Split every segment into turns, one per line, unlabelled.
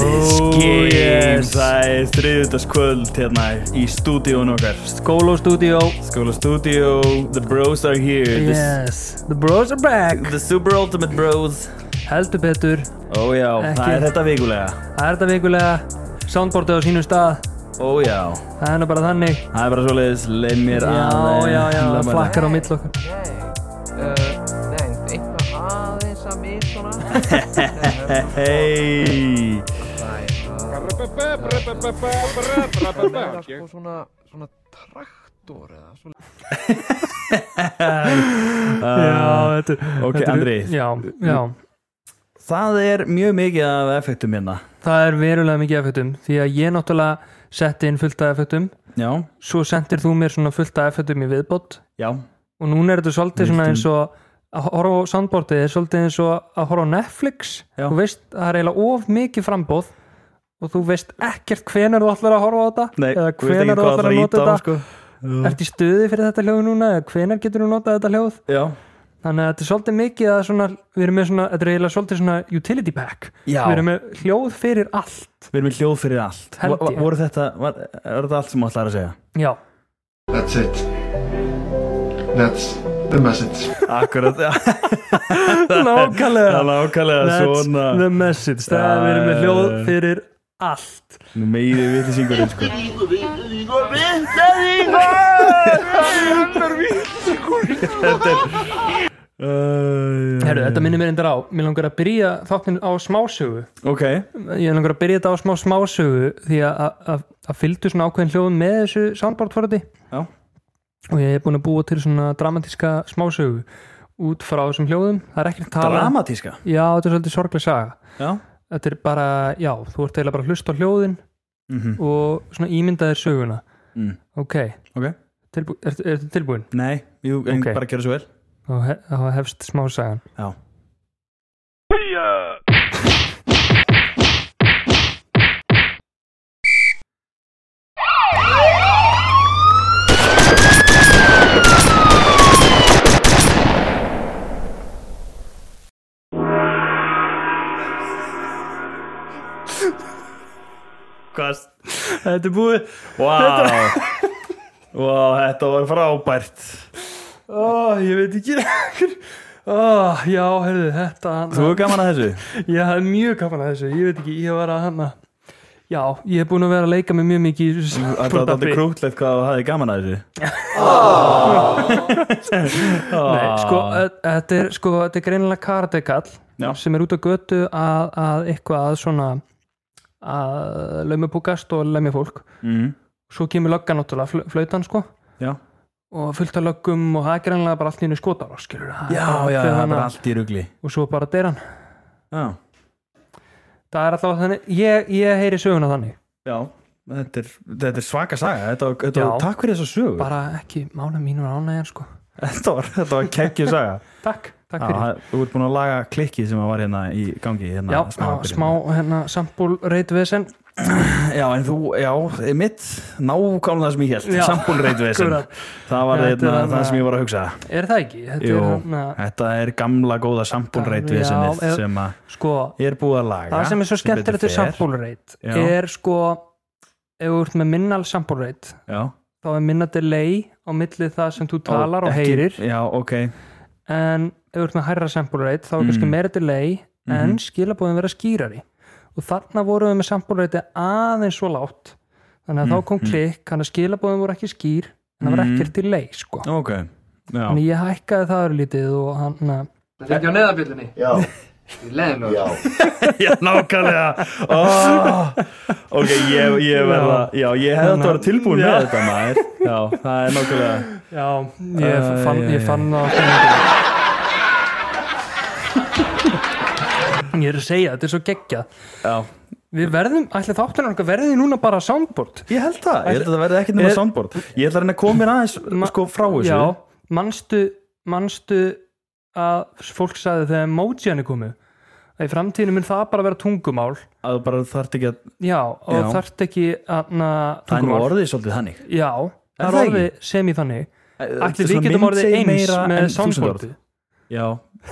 Oh,
Yes,
Skins
það er þriðutaskvöld hérna í stúdíón okkar
Skólastúdíó
Skóla stúdíó, the bros are here the,
Yes, the bros are back
the super ultimate bros
Heldur betur,
Ó já, það
Ekki.
er þetta vikulega
það er þetta vikulega Soundboardið á sínum stað
Ó já,
Það er nú bara þannig
það er bara svoleiðis Leif mér
Já,
aðeins
já, já,
leið
það
mér
flakkar á mill okkar
Nei, uh, nei, eitthvað aðeins að mér svona
aðeins. Hey,
Það er sko svona, svona traktor eða svona
uh,
þetta er
ok,
þetta er-
Andri.
Já, já
það er mjög mikið af effektum hérna
Það er verulega mikið effektum Því að ég náttúrulega setti inn fullt af effektum
Já,
Svo sendir þú mér svona fullt af effektum í viðbót
já,
Og núna er þetta svolítið svona eins og að horfa á soundboardið er svolítið eins og að horfa á Netflix
Já.
þú veist, það er eiginlega of mikið frambóð og þú veist ekkert hvenar þú ætlar að horfa á þetta
nei,
eða
þú veist ekki
hvenar þú
hvað
ætlar
það
að
íta
nota
á
þetta
sko
ertu í stuði fyrir þetta hljóð núna eða hvenar getur þú notað þetta hljóð
Já,
þannig að þetta er svolítið mikið að svona, við erum með svona, þetta er eiginlega svolítið svona utility pack
Já.
við erum með hljóð fyrir allt
við erum í hljóð fyrir allt
Held
Vo-
ég.
Voru þetta, var, var þetta allt sem þú ætlar að segja?
já,
That's it. That's the message.
Akkurat, já
nákvæmlega
Nákvæmlega
that's
svona Eh.
the message það er við erum með hljóð fyrir allt
Meiri vitlisingurinn sko
Herru, þetta minnir mér endur á, mér langar að byrja þáttin á smásögu
Ok,
ég langar að byrja þetta á smá smásögu því að- að að- að fylgdu svona ákveðin hljóðum með þessu soundboard forði
Já.
og ég er búin að búa til svona dramatíska smásögu út frá þessum hljóðum það er ekkert að tala
dramatíska
já, þetta er svolítið sorglega saga
Já
þetta er bara, já, þú ert eiginlega bara að hlusta á hljóðin
Mhm.
og svona ímyndaðir söguna
Mm.
ok,
Ok.
Tilbú, er, er þetta tilbúin?
Nei, jú, en
Ok.
bara gera svo vel
þá hef, þá hefst smásagan
Já Hvað?
þetta er búið
Vá Vá, þetta var frábært
Ó, ég veit ekki Ó, já, herðu, þetta
Þú er gaman að þessu?
Ég hafði mjög gaman að þessu, ég veit ekki, ég var að hanna Já, ég hef búin að vera að leika með mjög mikið í þessu
Þetta var
soundboardi.
alltaf krútlegt hvað þú hafði gaman að þessu Ah.
Nei, sko, e- þetta er, sko, þetta er greinilega karatekall
Já.
sem er út á götu að, að eitthvað að svona að laumi púkast og lemja fólk
mm.
Svo kemur löggan náttúrulega, fl flautan, sko
Já.
Og fullt af löggum og það er greinilega bara allt í hennu skotar á, skilur
Já, já, það er bara allt í rugli
Og svo bara deyr hann
Já,
Það er alltaf þannig, ég, ég heyri söguna þannig
já Þetta er, þetta er svaka saga þetta, var- þetta var,
Já.
Takk fyrir þessa sögu
Bara ekki mála mínum ánægjan, sko
Þetta var, þetta var kekkju saga
Takk, takk
Já,
fyrir
það- Þú ert búin að laga klikkið sem var hérna í gangi hérna,
Já,
smá,
smá,
byrjun.
smá hérna sambúl reytvesen
Já, en þú, já, mitt nákvæmlega það sem ég held,
Já.
sambúlreitvesen
Akkurat.
Það var
Þetta er
hérna,
þarna-
það sem ég var að hugsa
Er það ekki? Þetta
Jú,
er hérna,
þetta er gamla góða sambúlreitvesenið
Já, eða-
sem að
sko
ég er búið að laga
Það sem er svo skemmtilegt
betur
við
fer.
sambúlreit
Já.
er sko ef þú ert með minnal sambúlreit
Já,
þá er minna delay á milli það sem þú talar og,
ekki-
heyrir
Já, ok,
en ef þú ert með hærra sambúlreit þá er
Mm. Mhm.
kannski meira delay en skilabóðin vera skýrari og þarna vorum við með sambúlreiti aðeins svo látt þannig að
Mm,
þá kom klikk, hann að skilabóðin voru ekki skýr en það var
Mm.
ekkert delay sko
ok Já,
Þannig ég hækkaði það örlítið og hann eh, að
Ekki á neðabillunni?
Já,
Í leðinu?
já.
já nákvæmlega oh, Ok, ég, ég verða Já, ég hefði þetta verið tilbúin með
Já.
þetta maður Já, það er nákvæmlega
Já, ég
Æ,
eh, fann,
æ,
ég
æ.
fann það á stundum Ég er að segja, þetta er svo geggjað
Já,
Við verðum, ætli þáttunum okkar verði núna bara soundboard
Ég held það, ég held að það verði ekkert nema
Er-
soundboard Ég ætla að reyna að koma mér aðeins
Ma-
sko frá þessu
Já, manstu, manstu að fólk sagði þegar emojian er komið að í framtíðinu mun það bara vera tungumál
að þú bara þarft ekki að
Já, og
Já.
þarft ekki aðna
það er nú
tungumál
orðið svolítið þannig
Já, það er
það
orðið sem í þannig Ætli við getum orðið eins með soundboardi
Já,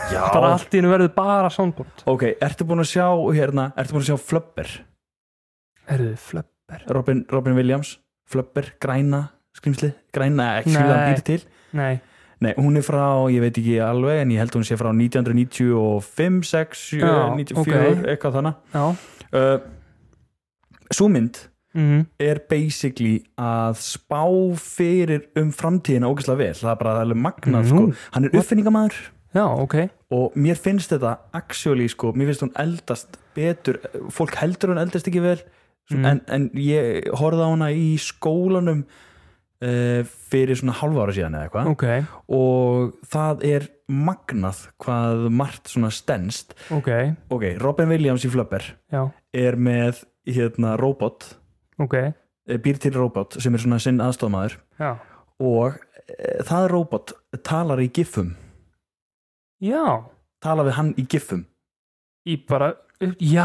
já
Bara allt í hennu verður bara soundboard
Ok, ertu búin að sjá hérna, ertu búin að sjá Flubber
Herðu, flöpper
Robin, Robin Williams, Flubber, græna skrimsli, græna, ekki skrimsli
Nei.
hann býr til
Nei,
Nei, hún er frá, ég veit ekki alveg en ég held hún sé frá 1995 6, 7,
Já,
94,
ok.
eitthvað þannig
já
uh, Sú mynd
mm.
er basically að spá fyrir um framtíðina ógeðslega vel, það er bara alveg
Nú.
magnað sko. hann er uppfinningamæður
Já, ok
og mér finnst þetta actually sko, mér finnst hún eldast betur, fólk heldur hún eldast ekki vel sko,
Mm.
en, en ég horfði á hana í skólanum uh, fyrir svona hálfa ára síðan eða eitthvað
Ok,
og það er magnað hvað margt svona stenst
ok,
ok, Robin Williams í Flubber
já,
er með hérna robot
ok
eh, býr til robot sem er svona sinn aðstofmaður
Já,
og e, það robot talar í gifum
já
talar við hann í gifum
Í bara, já,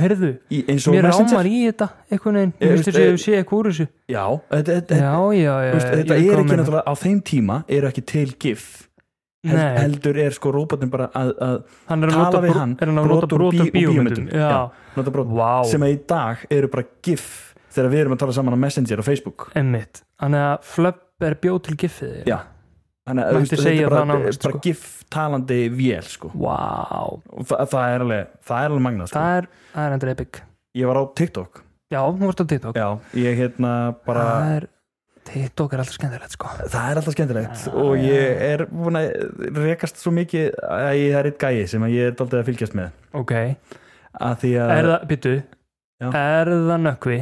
herðu
í, eins og
Mér
Messenger.
rámar í þetta, einhvern veginn
Eh,
Mér finnst
veist,
þess að
eh,
ég sé eitthvað úr þessu
já, þetta, þetta,
Já, já, já
þú veist, þetta
ég
er
kom
ekki
með-
náttúrulega á þeim tíma eru ekki til gif Hel,
Nei.
heldur er sko robotin bara að, að
Hann er að
tala
nota
við
brot-
hann,
er hann að
brot
nota
úr
brot
bí-
úr
úr
bíómyndum
bíómyndum.
Já,
Já. nota brot,
Vá.
sem að í dag eru bara gif þegar við erum að tala saman á Messenger og Facebook
emmitt Þannig að Flöpp er bjóð til giffið þér
Já. þannig að
Mætti
þú veist, þetta
segja
er bara,
það nánast,
bara
sko.
gif talandi vél sko.
Vá,
og það, það er alveg, það er alveg magnað sko.
það er, það er endur epic
ég var á TikTok
Já, hún varst á TikTok
Já, ég hérna bara
Það er, TikTok er alltaf skemmtilegt sko
það er alltaf skemmtilegt og ég er búin að rekast svo mikið að ég það er eitt gæi sem að ég er daldið að fylgjast með
Ok,
að því að
er það, byttu
Já.
Er það nökkvi?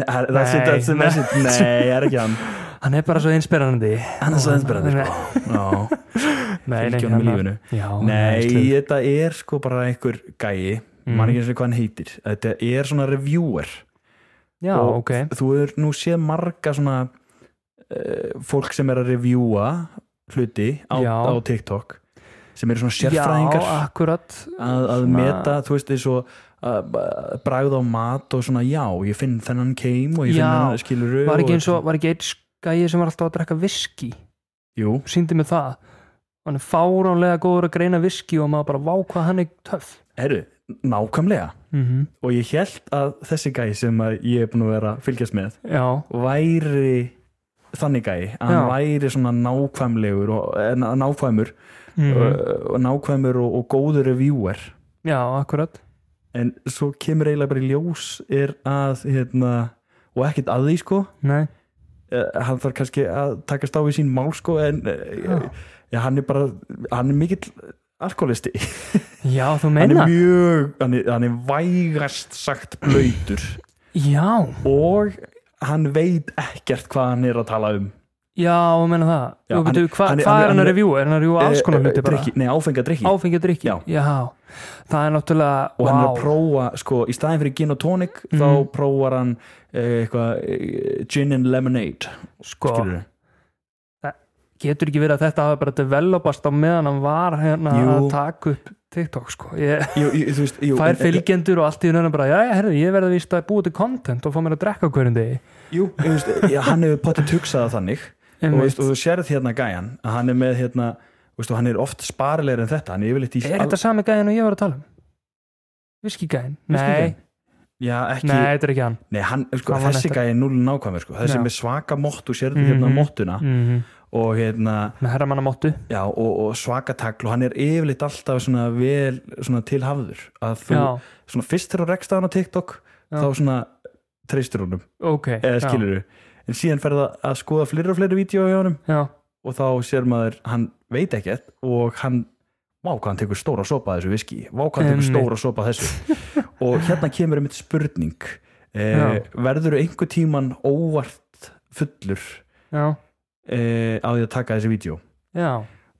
Nei, það er- það er
Nei,
sitt- það er sitt- nei, það er ekki hann
Hann er bara svo einsperrandi
hann er svo einsbyrðandi
Nei.
sko.
Nei, hérna. nei,
fylgjum í
hann-
lífinu
Já, hann er
nei,
æðislegur.
þetta er sko bara einhver gæi
Mm.
mann ekki eins og hvað hann heitir þetta er svona reviewer
Já,
og
ok
þú er nú séð marga svona uh, fólk sem er að reviewa hluti á,
Já.
á TikTok sem eru svona sérfræðingar
Já, akkurat
að, að
Svona-
meta, þú veist, eins og að- að bragða á mat og svona já, ég finn þennan keim og ég finn
Já,
þennan skiluru
var ekki
og-
eins og var ekki einn skæi sem var alltaf að drekka viski
Jú,
síndi mig það hann er fáránlega góður að greina viski og maður bara vá hvað hann er töff
herru, nákvæmlega
mm -hmm.
og ég held að þessi gæi sem að ég er búin að vera að fylgjast með
já,
væri þannig gæi að
Já.
hann væri svona nákvæmlegur og, eh, ná- nákvæmur Mhm. eh,
mm
og, og nákvæmur og, og góður reviewer
já, akkurat
en svo kemur eiginlega bara í ljós er að hérna, og ekkert að því sko
Nei.
uh, hann þarf kannski að takast á í sín mál sko en uh,
Ah.
já, hann er bara hann er mikill alkoholisti
já, þú
hann er
meina
mjög, hann er, hann er vægast sagt blöytur
já,
og hann veit ekkert hvað hann er að tala um
já, þú meina það
Já,
já,
hann-
betur, hva,
hann
hvað
er- hann
er
er-
hann
hann
að
er-
reviewa er hann að reviewa alls konar
Eh, eh,
hluti bara
drykki, nei, áfenga drikki
áfengi og drikki,
Já.
já það er náttúrulega,
og hann er
vá
að
Mhm.
prófa, sko, í staðin fyrir gin og tonic þá prófar hann eh, eitthvað, eh, gin and lemonade
sko,
skilurðu.
getur ekki verið að þetta hafi bara developast á meðan hann var hérna
Jú.
að taka upp TikTok sko, ég
Jú, jú, þú veist, jú, en-
fær
en-
fylgjendur og allt í rauninu bara, já, já, herru, ég verði víst að búa til content og fá mér að drekka á hverjum degi
Jú, þú veist, já, hann hefur potið tugsað þannig og,
Einmitt.
veist, og þú sérð hérna gæjan að hann er með hérna þú veist, og hann er oft sparilegur en þetta hann er yfirleitt í
er þetta sami gæðin og ég var að tala um? Viskigæðin? Nei,
já, ekki,
nei,
nei,
þetta er ekki hann
hann, sko,
Hvað var
þessi
þetta?
gæja er núl nákvæmur sko. þessi
Já.
með svaka móttu sérðu
Mhm.
hérna móttuna
mm
og, hérna,
með herramannamóttu
já, og, og svaka tagl og hann er yfirleitt alltaf svona vel svona tilhafður að þú,
Já,
svona fyrst þegar þú rekst á hann á TikTok
Já.
þá svona treystur honum
ok
eða
já,
skilur en síðan ferða að skoða fleiri og fleiri vídeo á honum
Já,
og þá sér maður hann veit ekkert og hann vá hvað hann tekur stóra sopa af þessu viski vá hvað hann tekur
Einmitt.
stóra sopa af þessu og hérna kemur einmitt spurning
Já.
eh, verður einhver tíman óvart fullur
já,
eh, á því að taka þessi vídeo
já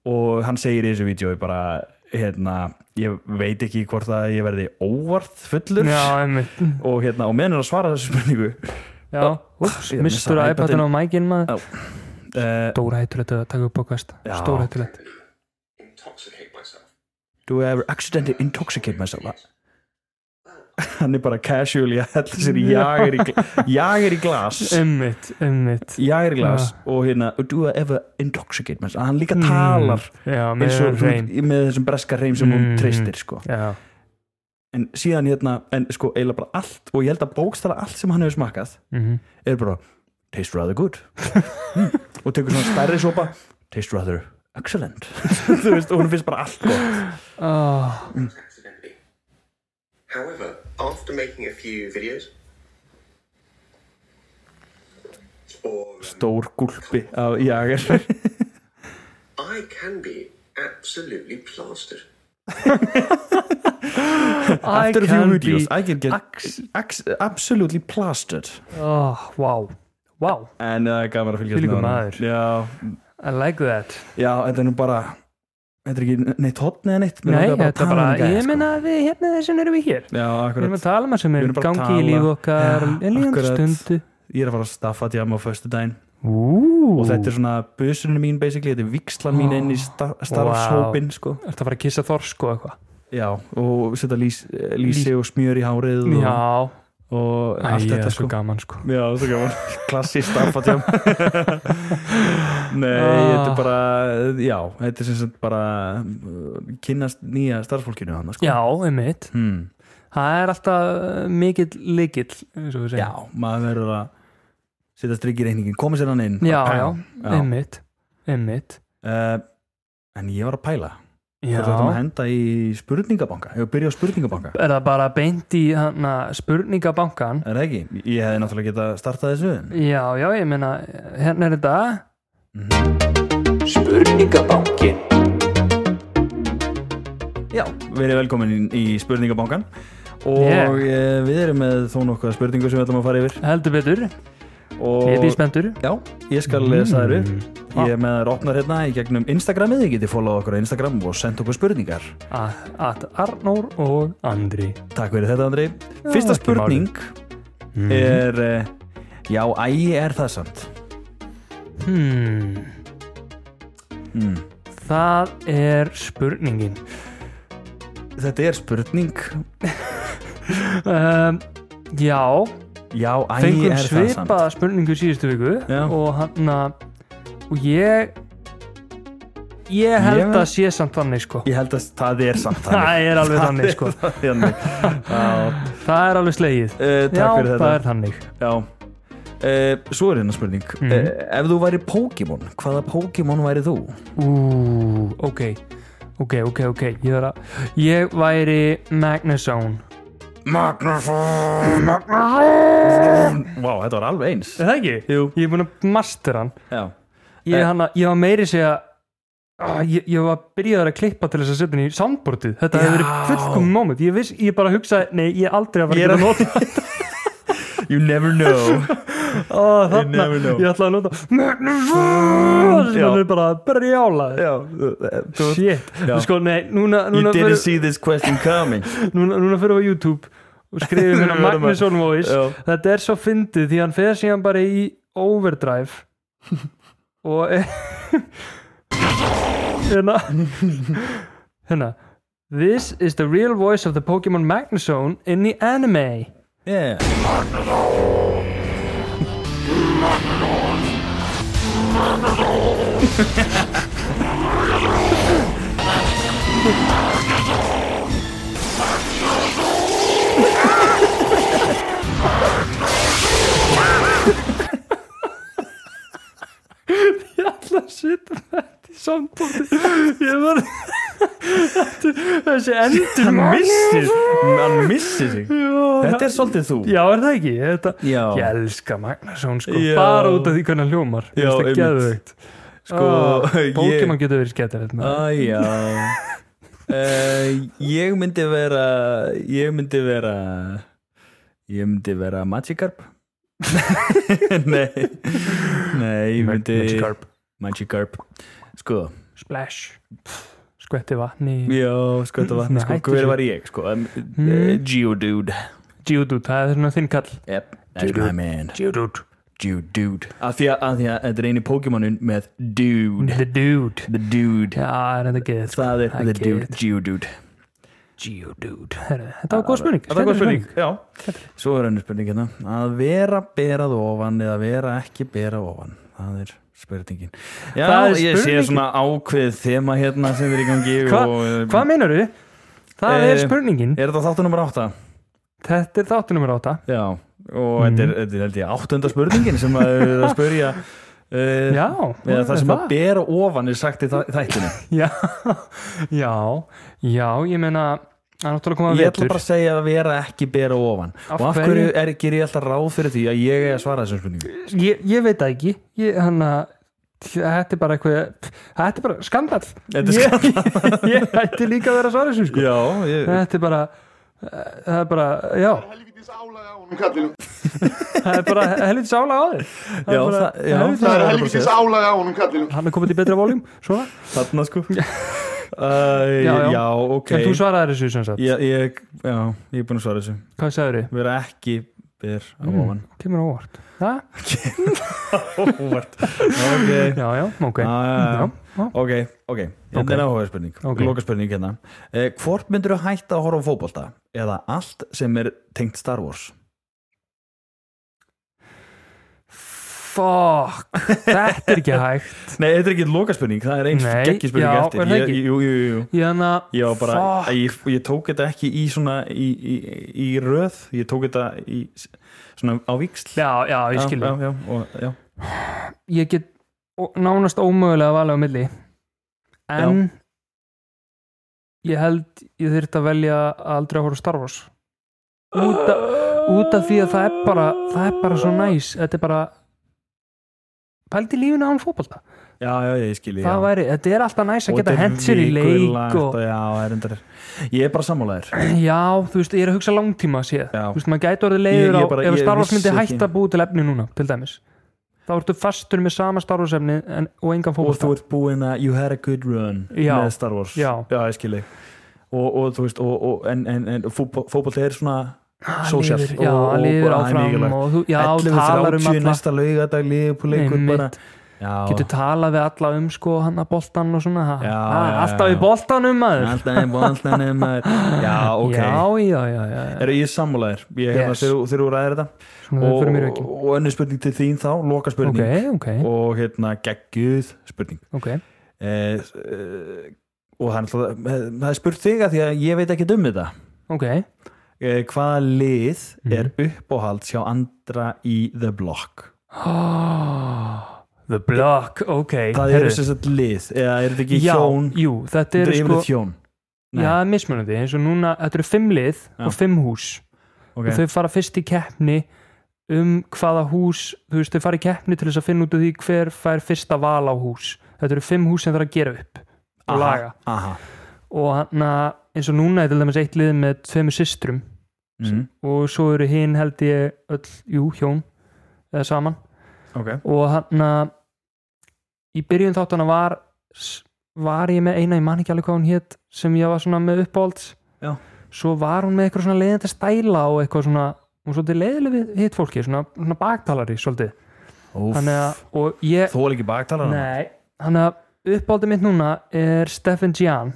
og hann segir í þessu vídeo bara hérna, ég veit ekki hvort að ég verði óvart fullur
já, einmitt
og hérna, og menn er að svara þessu spurningu
já, úps,
ég
mistur
missa
iPadin á
iPadinn.
mækin maður
Já. uh,
stórhættulegt að taka upp á kvæst
Já.
stórhættulegt
Do I ever accidentally intoxicate myself? Hann er bara casually að hella sér í jager í, gl- jager í glas
einmitt, einmitt
jager í glas og hérna Do I ever intoxicate myself? Hann líka
Mm.
talar
já,
eins
með
og
reyn
hún, með þessum breska reym sem
Mhm.
hún treystir sko.
já,
en síðan hérna, en sko eiginlega bara allt og ég held að bókstara allt sem hann hefur smakkað
mhm
er bara taste rather good Mm. og tekur svona stærri sopa taste rather excellent þú veist, og hún finnst bara allt gott
Ah,
accidentally. However, after making a few videos, or um,
stór gulpi af jager
I can be absolutely plastered.
I
after a few
can
videos
be
I can get
ax-
ax- absolutely plastered
oh, wow, wow
en það er gaman að fylgjast
Þvílíkur
með honum.
maður.
já,
I like that
já, þetta er nú bara þetta er ekki neitt hotn eða neitt mér
Nei,
langaði bara
þetta
að
er
tala
bara,
um gæja,
ég
sko.
meina að við hérna þessin erum við hér
já,
Við erum
akkurat
að tala um það sem
Við
er
erum bara að
gangi í
tala.
líf okkar
Já,
En líðan
akkurat.
stundu
ég er að fara að staffa djama á föstu daginn
Ú,
og þetta er svona busunni mín basically, þetta er vikslan mín inn í sta- starfshópin sko.
Ertu að fara að kissa þorsk og eitthvað?
já, og setja lís, lísi og smjör í hárið og,
Já,
og allt
Æ,
þetta
er svo
sko
gaman sko
já, svo gaman, klassist affatjám nei,
Ah.
þetta er bara já, þetta er sem sagt bara uh, kynnast nýja starfsfólkinu hann sko.
Já, einmitt
hmm.
Það er alltaf uh, mikill lykill eins og við
já,
segjum.
maður verður að setja strikki í reyningin, koma sér hann inn
já, já,
já.
einmitt Einmitt
Uh, en ég var að pæla
Já,
þetta er að henda í spurningabanka ég var að byrja á spurningabanka
er það bara beint í hana, spurningabankan
Er það ekki? Ég hefði náttúrulega getað startað þessu en
Já, já, ég meina, hérna er þetta
Já, verið velkomin í, í spurningabankan og
Yeah.
yeah. við erum með þó nokkuð spurningu sem við ætlum að fara yfir
heldur betur,
og
ég Mm. býð spenntur
Já, ég skal lesa þær upp
Ah.
Ég er með þær opnar hérna í gegnum Instagramið, ég geti followað okkur á Instagram og sendt okkur spurningar
að að Arnór og Andri
Takk fyrir þetta Andri Fyrsta
ekki máli. Mhm.
spurning er eh, Já, ægi er það samt
hmm.
Hmm.
Það er spurningin
Þetta er spurning
um, Já,
Já, ægi
fengum
er það samt
svipaða spurningu síðustu viku
Já.
og hann að og ég ég held
Ég-
að sé samt þannig sko
Ég held að það er samt þannig.
Það er alveg þannig sko
Það er þannig Já,
Það er alveg slegið
Eh,
Já,
takk fyrir
það Mhm. er
þetta
þannig
Já. Uh, svo er hérna spurning mm ef þú væri Pokémon, hvaða Pokémon væri þú?
Ú, ok Ok, ok, ok Ég, er að, ég væri Magnusson
Magnusson Magnusson Vá, þetta var alveg eins
Er það ekki? Jú. Ég er búin að master hann
Já,
ég,
Eh.
hana, ég var meiri segja Ah, ég, ég var byrjaður að klippa til þess að setja hann í soundboardið þetta hefði verið
Já.
fullkom moment ég, viss, ég bara hugsaði, nei, ég er aldrei að fara
Ég er
að
að nota You never know
geta oh, þarna,
never know.
ég ætlaði að nota Magnus
Já.
það er bara brjálaður
Já, eh, þú-
shit,
Já.
sko, nei, núna
You
núna
didn't
fyrir,
see this question coming
núna, núna fyrir á YouTube og skrifum hérna
Við verðum að-
Magnusson voice
Já.
þetta er svo fyndið því hann fer síðan bara í overdrive og er- hérna hérna This is the real voice of the Pokemon Magnezone in the anime
Yeah
Ég ætla að setja þetta í sambandi Ég var Þessi endur missir
Hann missi sig Þetta er svolítið þú
Já, er það ekki? Þetta,
Já.
Ég elska Magnezone sko
Já.
bara út af því hvernig hann hljómar
Já,
Mér finnst það
einmitt.
geðveikt
Sko,
Ah,
ég- Ah,
Pokémon getur verið skemmtilegt með það.
Æjá uh, Ég myndi vera Ég myndi vera Ég myndi vera Magikarp Nei Nei, ég myndi
Magikarp
Magikarp Sko,
Splash skvetti vatni í-
já, sko þetta var
Svona
sko,
hættur
hver
svo.
var ég, sko um,
Mm.
uh, Geodude
Geodude, það er svona þinn kall
yep, that's my man
Geodude
Geodude af því að, af því að þetta er eini Pokémonin með dude,
The Dude
the dude
Já, það er þetta geðið
það er the dude, Geodude
Geodude Herru, Þetta var góð spurning
Þetta var góð spurning, já
Skemmtileg.
Svo er önnur spurning hérna Að vera berað ofan eða vera ekki berað ofan Það er spurningin Já,
Það er
ég sé
spurningin.
svona ákveðið þema hérna sem er í gangi
Hva-
og,
Hvað meinar þú? Það
Eh,
er spurningin
Er þetta þáttu nummer átta?
Þetta er þáttu nummer átta
Já, og þetta er, þetta er held ég áttunda spurningin sem að við erum að spurja uh,
Já,
Eða það sem að
það.
bera ofan er sagt í þa- þættinu
Já, já, já, ég meina Það er náttúrulega komað
Ég ætla bara að segja að vera ekki bera ofan
Af
Og af
hverju?
hverju er, ger ég alltaf ráð fyrir því að ég er að svara þessum spurningum
ég, ég veit það ekki ég, hann að þetta er bara eitthvað þetta er bara skandal
Þetta er
ég, ég ætti líka að vera að svara þessu sko.
Já, ég,
þetta er bara það er bara, já,
Helvítis álag á honum kallinum.
það er bara helviti sála á þér það
Já,
er bara,
það- já,
helvítis
það
álag á
er
Það er
þér.
helvítis
helvítis álag á honum kallinum.
hann er komið til betra voljum svona,
Þarna sko uh,
Já, já.
já, ok
en þú svaraði þessu sem sagt,
Já, ég, já, ég er búin að svara þessu
hvað sagður þið?
Vera ekki ber á
Mm.
ofan
kemur á óvart, það?
Óvart Ok,
já, já, ok
Já, já, já.
já, já.
ok, ok
Ok.
Þetta er áhuga spurning,
Ok.
loka spurning hérna eh, Hvort myndur þú hætta að horfa á fótbolta eða allt sem er tengt Star Wars
fuck þetta er ekki hægt
Nei, þetta er ekki loka spurning, það er einn
Nei,
geggi spurning
já, er
eftir
það
ég,
ekki?
Jú, jú, jú, jú
ég hann að,
Ég, var bara,
fuck
ég, ég tók þetta ekki í svona í, í, í röð, ég tók þetta í s- svona á viksl
já, já, ég skil
já, já, og, já.
ég get ó- nánast ómögulega að vala á milli en ég held ég þyrt að velja að aldrei að horfa á Star Wars út, a, út af því að það er bara það er bara svo næs þetta er bara pældi lífinu án fótbolta
já, já, ég skilji
það væri, þetta er alltaf næs að geta hent sér í leik og,
já, það er endar, ég er bara sammálaðir
já, þú veist, ég er að hugsa langtíma séð
Já.
þú veist, maður gæti orðið
Ég-
leiður
ég
á
bara-
ef
ég
Star Wars
vissi
myndi
ekki.
hætta að búi til efni núna, til dæmis þá ertu fastur með sama Star Wars efni en, og engan
og
fótbolta
þú ert búinn að you had a good run
Já.
með Star Wars
Já.
ég skilji og, og þú veist, og, og, en, en, en fótbolti er svona
Hann
social
lifir- já, hann lifir áfram og þú, já, talar um
11.30
alla
næsta laugadag liðupúleikur
Einmitt.
bara já,
getur talað við alla um sko hann að boltan og svona ha,
Já,
ha,
já,
alltaf
já.
í boltanum maður
alltaf nefn, alltaf nefn já, ok
já, já, já, já, já.
Er ég sammálaðir, ég hef
Yes.
yes. það þegar þú ræðir þetta
Svona, og, fyrir mér
og,
ekki
og önnur spurning til þín þá,
ok,
loka spurning
ok,
og hérna gegguð spurning
ok
eh, s- eh, og það er, alltaf, það er spurt þig að því að ég veit ekki um þetta
ok,
eh, hvaða lið
Mhm.
er uppáhald sjá andra í The Block
the block, ok
það
heyrðu.
eru sem sagt lið eða er þetta ekki
Eh, já,
hjón
jú, þetta
þetta er
eru sko
yfirleitt hjón Nei.
já, það er mismunandi, eins og núna, þetta eru fimm lið og fimm hús
okay.
og þau fara fyrst í keppni um hvaða hús þú veist, þau fara í keppni til þess að finna út af því hver fær fyrsta val á hús þetta eru fimm hús sem þarf að gera upp og
Aha,
laga
aha.
og hann eins og núna er til dæmis eitt lið með tveimur systrum
Mm.
og svo eru hinn held ég öll, jú, hjón eða saman
Okay.
og hann í byrjun þáttana var var ég með eina, ég man ekki alveg hvað hún hétt sem ég var svona með uppáhalds
Já.
svo var hún með eitthvað svona leiðandi stæla og eitthvað svona, hún var svolítið leiðileg við hitt fólki, svona, svona baktalari svolítið,
Úff,
þannig að, og ég
þú er ekki baktalar
nei, þannig að uppáhaldið mitt núna er Stefan Gian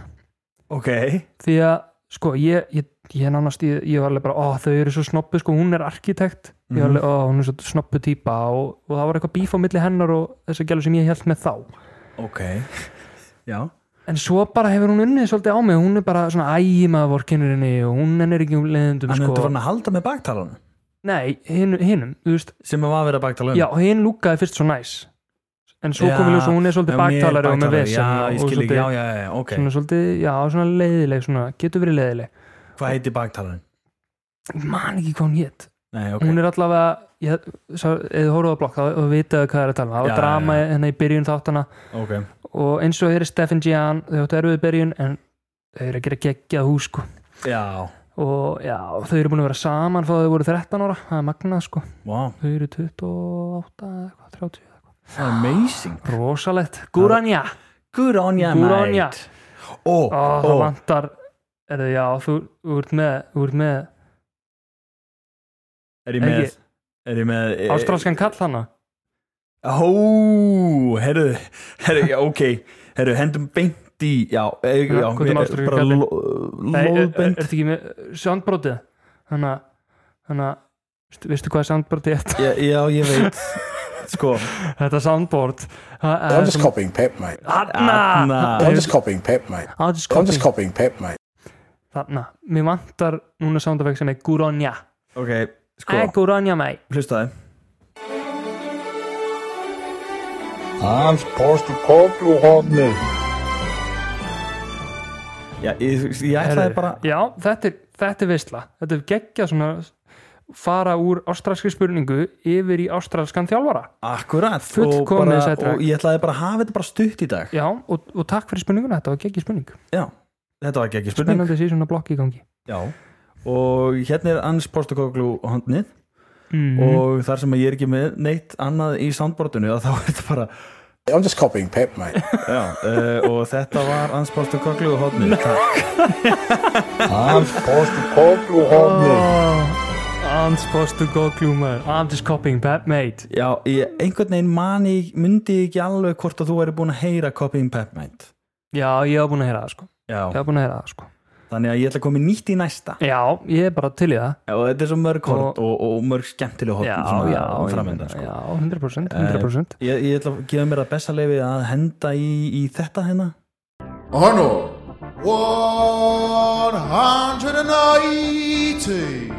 ok,
því að, sko, ég ég, ég nánast, ég, ég var alveg bara, ó, þau eru svo snoppu sko, hún er arkitekt ég
Mhm.
var alveg, ó, hún er svo snoppu típa og, og það var eitthvað bíf á milli hennar og þess að sem ég held með þá
ok já,
en svo bara hefur hún unnið svolítið á mig hún er bara svona ægima vorkinnurinni og hún ennir ekki um leðendum
hann er þetta
sko.
farin að halda með baktalarnu
nei, hinn- hinnum, þú veist
sem að var að vera baktalarnu
já, hinn lúkaði fyrst svo næs en svo
Já,
kom við ljós og hún er svolítið
Já, mér er
baktalari og með
baktalari,
vesen
já,
og, og
ég skil ekki,
svolítið,
já, já, já, ok
svona svolítið, já, svona leiðileg svona, getur verið leiðileg
hvað heitir baktalarinn?
ég man ekki hvað hún hétt
Nei, ok,
hún er allavega, ég, sá, eða horfðu á blokk þá þá vitaðu hvað það er að tala um, það
Já,
var drama hérna í byrjun þáttana
ok
og eins og þeir eru Stefan Gian, þau áttu erfiðu byrjun en þau eru að gera geggjað hús sko
já,
og já, þau eru búin að vera saman frá þau voru 13 ára, það er magnað sko
wow,
þau eru 28, eða eitthvað, 30 eða eitthvað.
amazing
rosalegt, Guranja
good on ya,
Good on ya.
mate
Ó,
Ó,
það
ó,
vantar er það já, þú, þú ert með, þú ert með
er ég með
ekki-
Er ég með eh,
ástralskan kall hana
Ó, herru, herru, já, ok Herru, hendum beint í Já, eh,
Já,
já,
hvað er
mér-
ástralskur
bara
kallinn?
ló-
Nei, er, er,
lóðbeint
ertu ekki með soundbrotið þannig að- þannig að veistu- veistu hvað er soundbrotið er?
Já, já, ég veit Sko,
þetta soundboard eh,
I'm just copying Pep, mate.
Ah,
Anna
I'm just copying Pep, mate.
I'm just
I'm just
copy
copying Pep, mate.
þannig að mér vantar núna soundeffekt sem er Guronja
ok, sko,
Æ, Guronja mei
hlustaði
I'm supposed to call you hotness.
Já, ég, ég ætlaði bara
já, þetta er, þetta er visla þetta er geggjað svona fara úr ástralski spurningu yfir í ástralskan þjálfara
Akkurat og,
Fullkomið
bara,
sætrak.
og ég ætlaði bara að hafa þetta bara stutt í dag
já, og, og takk fyrir spurninguna, þetta var geggjað spurning
Já, þetta var ekki ekki spurning
spennandi síðan að blokki í gangi
Já Og hérna er Ans Postakoglu hondnið
mm.
og þar sem að ég er ekki með neitt annað í soundboardinu að þá er þetta bara
I'm just copying Pep, mate.
Já, uh, og þetta var Ans Postakoglu hondnið Takk
I'm supposed to call you hotness.
I'm supposed to go gloomer I'm just copying that mate
Já, ég, einhvern veginn mani, myndi ég ekki alveg hvort að þú væri búin að heyra Copying Pepmind
já, ég hef búin að heyra það sko ég
Já,
hef búin að heyra það sko
þannig að ég ætla að koma í nýtt í næsta
já, ég er bara til í það
og þetta er svo mörg hort og, og, mörg skemmtileg hort
já, já, ég meina,
framöndan sko.
já, 100% 100%
Ég, ég ætla að gefa mér að besta leifi að henda í, í þetta hérna
Honor 180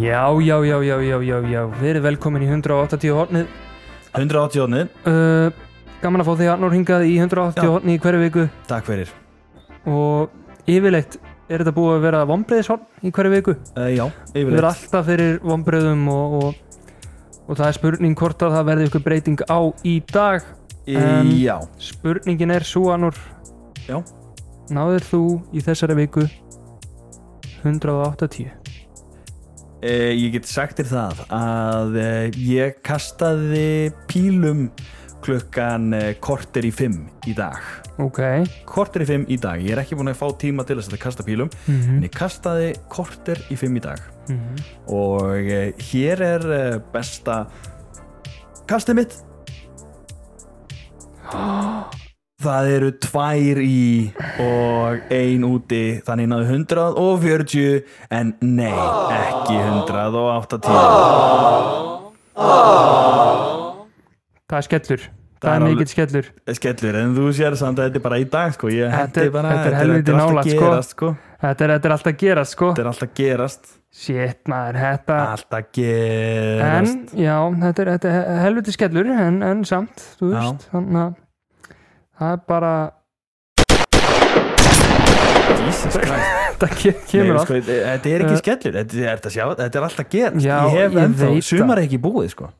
já, já, já, já, já, já, já verið velkomin í 180 hornið
180 ónið,
uh, gaman að fá þig Arnór hingað í 180
Já.
hornið í hverju viku
takk fyrir
og yfirleitt er þetta búið að vera vombriðishorn í hverju viku
uh, Já,
Við erum
yfirleitt
alltaf fyrir vombriðum og, og, og það er spurning hvort að það verði ykkur breyting á í dag
Í-
um,
Já,
Spurningin er svo annur
Já.
Náður þú í þessari viku 180
Eh, ég get sagt þér það að eh, ég kastaði pílum klukkan eh, korter í fimm í dag
Ok
korter í fimm í dag, ég er ekki búin að fá tíma til þess að kasta pílum,
Mhm.
en ég kastaði korter í fimm í dag og eh, hér er eh, besta kastið mitt það eru tvær í og ein úti þannig náðu 140 en nei, ekki 180
Það er skellur Það,
er
er
alveg-
mikill skellur
skellur, en þú sér samt að þetta er bara í dag sko, ég
Þetta
hendi
er-
bara
þetta er
þetta
helviti
allt að
nálægt, sko.
gerast, sko.
Þetta er, þetta er alltaf að gera sko
þetta er alltaf gerast
Shit maður, þetta
Allt að gerast
En, já, þetta er, þetta er helviti skellur en, en samt, þú
Já.
veist Þannig að það er bara
Jesus Christ
Þetta ke-
Nei,
kemur allt
sko, Þetta er ekki
Eh.
skellur, þetta er, þetta, sjá, þetta er alltaf gerast
Já,
Ég hef
ég
ennþá,
veit það.
sumar er ekki búið sko.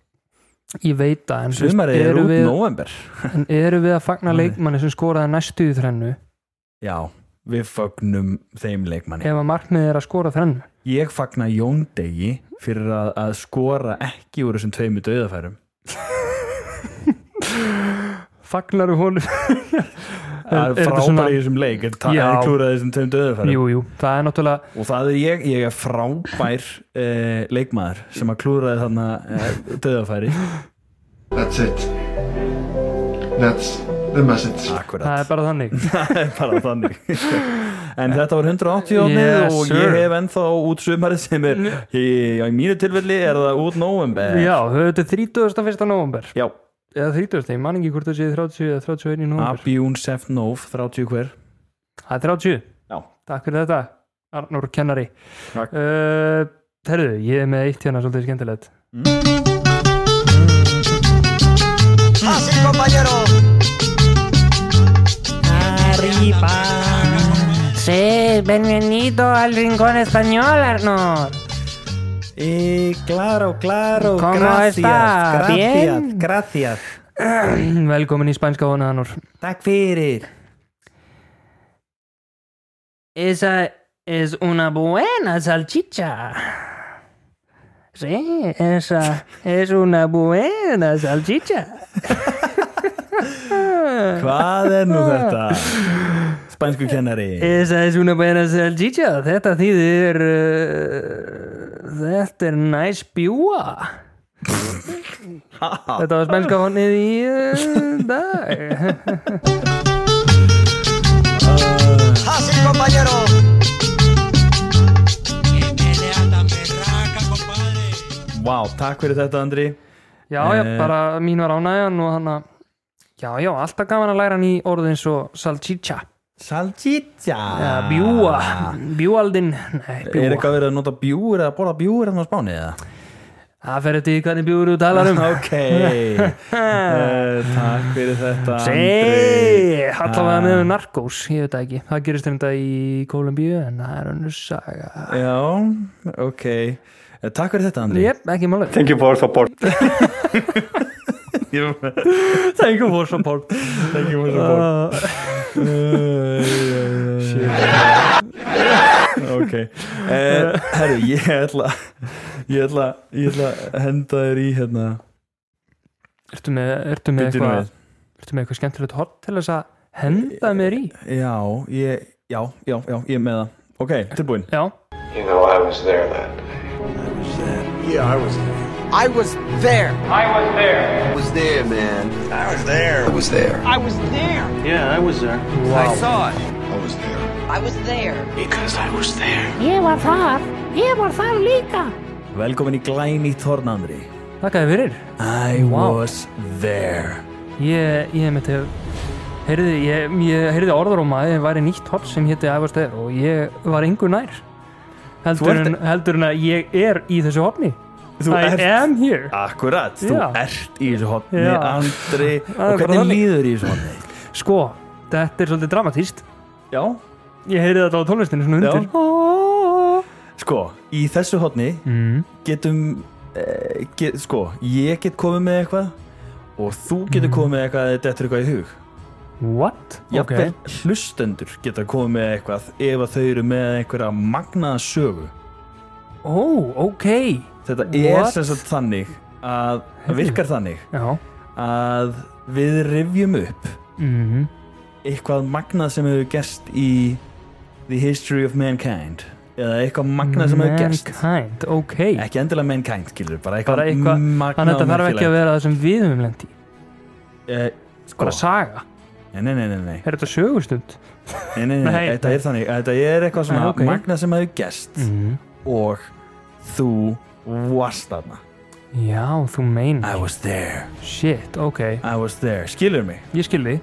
Ég veit það, en, þú veist,
Sumar er
eru
út
við,
november
en eru við að fagna
Nei.
leikmanni sem skoraði næstu í þrennu
Já, við fagnum þeim leikmanni
ef að markmiðið er að skora þrennu
Ég fagna Jóndegi fyrir að, að skora ekki úr þessum tveimu döðafærum
Fagnaru honum
Það
er
er
þetta
frábæri
svona-
í þessum leik er,
Já.
er klúrað þessum tveimu döðafærum
Jú, jú, það er náttúrulega
Og það er ég, ég er frábær eh, leikmaður sem að klúraði þarna eh, döðafæri
That's it. That's the message.
Akkurat
það er bara þannig
bara þannig en þetta var 180
Yes,
ánið og ég
sir.
hef ennþá út sumarið sem er í, já, í mínu tilfelli er það út november
Já, þetta er 31. november
já
eða 30. ég man ekki hvort það sé 30 eða 31. november
Abjún Sefnóf 30 hver
Það er 30,
Já.
takk fyrir þetta Arnór kennari
Takk.
uh, Herðu, ég er með eitt hérna svolítið skemmtilegt
Sí, bienvenido al rincón español, Arnold.
e, claro, claro
¿Cómo gracias, está? gracias, Bien.
gracias
Velkomin í spænska vonið Arnór
takk fyrir
Esa es una buena salchicha. Sí, esa es una buena salchicha.
hvað er nú þetta spænsku kennari
Esa es una buena salchicha. Þetta þýðir uh, Þetta er næs bjúa
Þetta var spænska fannið í uh, dag
Vá, takk fyrir þetta Andri
Já, já,
Eh.
bara mín var ánægjan og hann að Já, já, alltaf gaman að læra hann í orðin svo salchicha
Salchicha
eða bjúa, bjúaldin Nei,
Ah. Er
bjúa,
eitthvað verið að nota bjúur eða borða bjúur hérna á Spáni eða?
það fer eftir því hvernig bjúru þú talar um
Ok uh, Takk fyrir þetta Andri
Sei, allavega með
Ah.
narkós, ég veit það ekki Það gerist þetta í Kólumbíu en það er önnur saga
Já, ok Eh, Takk fyrir þetta Andri
Jep, ekki máli
Thank you for support.
Thank you for support Thank you for support Ok uh, Herru, ég ætla Ég ætla, ég ætla að henda þér í hérna
Ertu með, ertu með
Bíddu nú
eitthvað Ertu með eitthvað skemmtilegt hot til þess að henda mér í
við. Já, ég, já, já, já, ég er með það Ok, tilbúin
Já,
You know, I was there that day.
Velkomin í glæni Þornandri
þakkaði fyrir
I
Wow.
was there
Ég, ég mitt hef Heyrði, ég, ég heyrði orðróma að það væri nýtt hot sem hétti Ævar Steður og ég var engu nær heldur,
ert-
en, heldur en að ég er í þessu hotni
Þú
I
ert- Ah.
am here
Akkurat, þú
Já.
ert í þessu hotni
Já.
Andri,
er
og
bara
hvernig
þannig.
líður í þessu hotni?
Sko, þetta er svolítið dramatíst
Já,
Ég heyrði þetta á tónlistinu svona
Já.
undir Já.
sko, í þessu hotni
Mm.
getum eh, get, sko, ég get komið með eitthvað og þú getur
Mhm.
komið með eitthvað eða þetta er eitthvað í hug
What?
Jafnvel hlustendur geta komið með eitthvað ef að þau eru með einhverja magnaða sögu
Ó, ok
Þetta er
What?
sem sagt þannig að það virkar þannig
Já
að við rifjum upp
mm.
eitthvað magnað sem hefur gerst í The History of Mankind eða eitthvað magnað sem hefur gerst
Mankind, ok
ekki endilega Mankind, skilur, bara eitthvað,
Bara eitthvað Þannig að þetta þarf ekki að vera það sem við höfum lendi
vera eh, sko,
Bara saga
nei, nei, nei, nei, nei,
Er þetta sögustund?
nei, nei, nei,
Nei,
þetta
nei.
er þannig þetta er eitthvað svona
Ah, ok.
magnað sem hefur gerst
Mm.
og þú varst þarna
Já, þú
I
meinar
was there,
Shit, ok
I was there, skilur mig
Ég skil þið,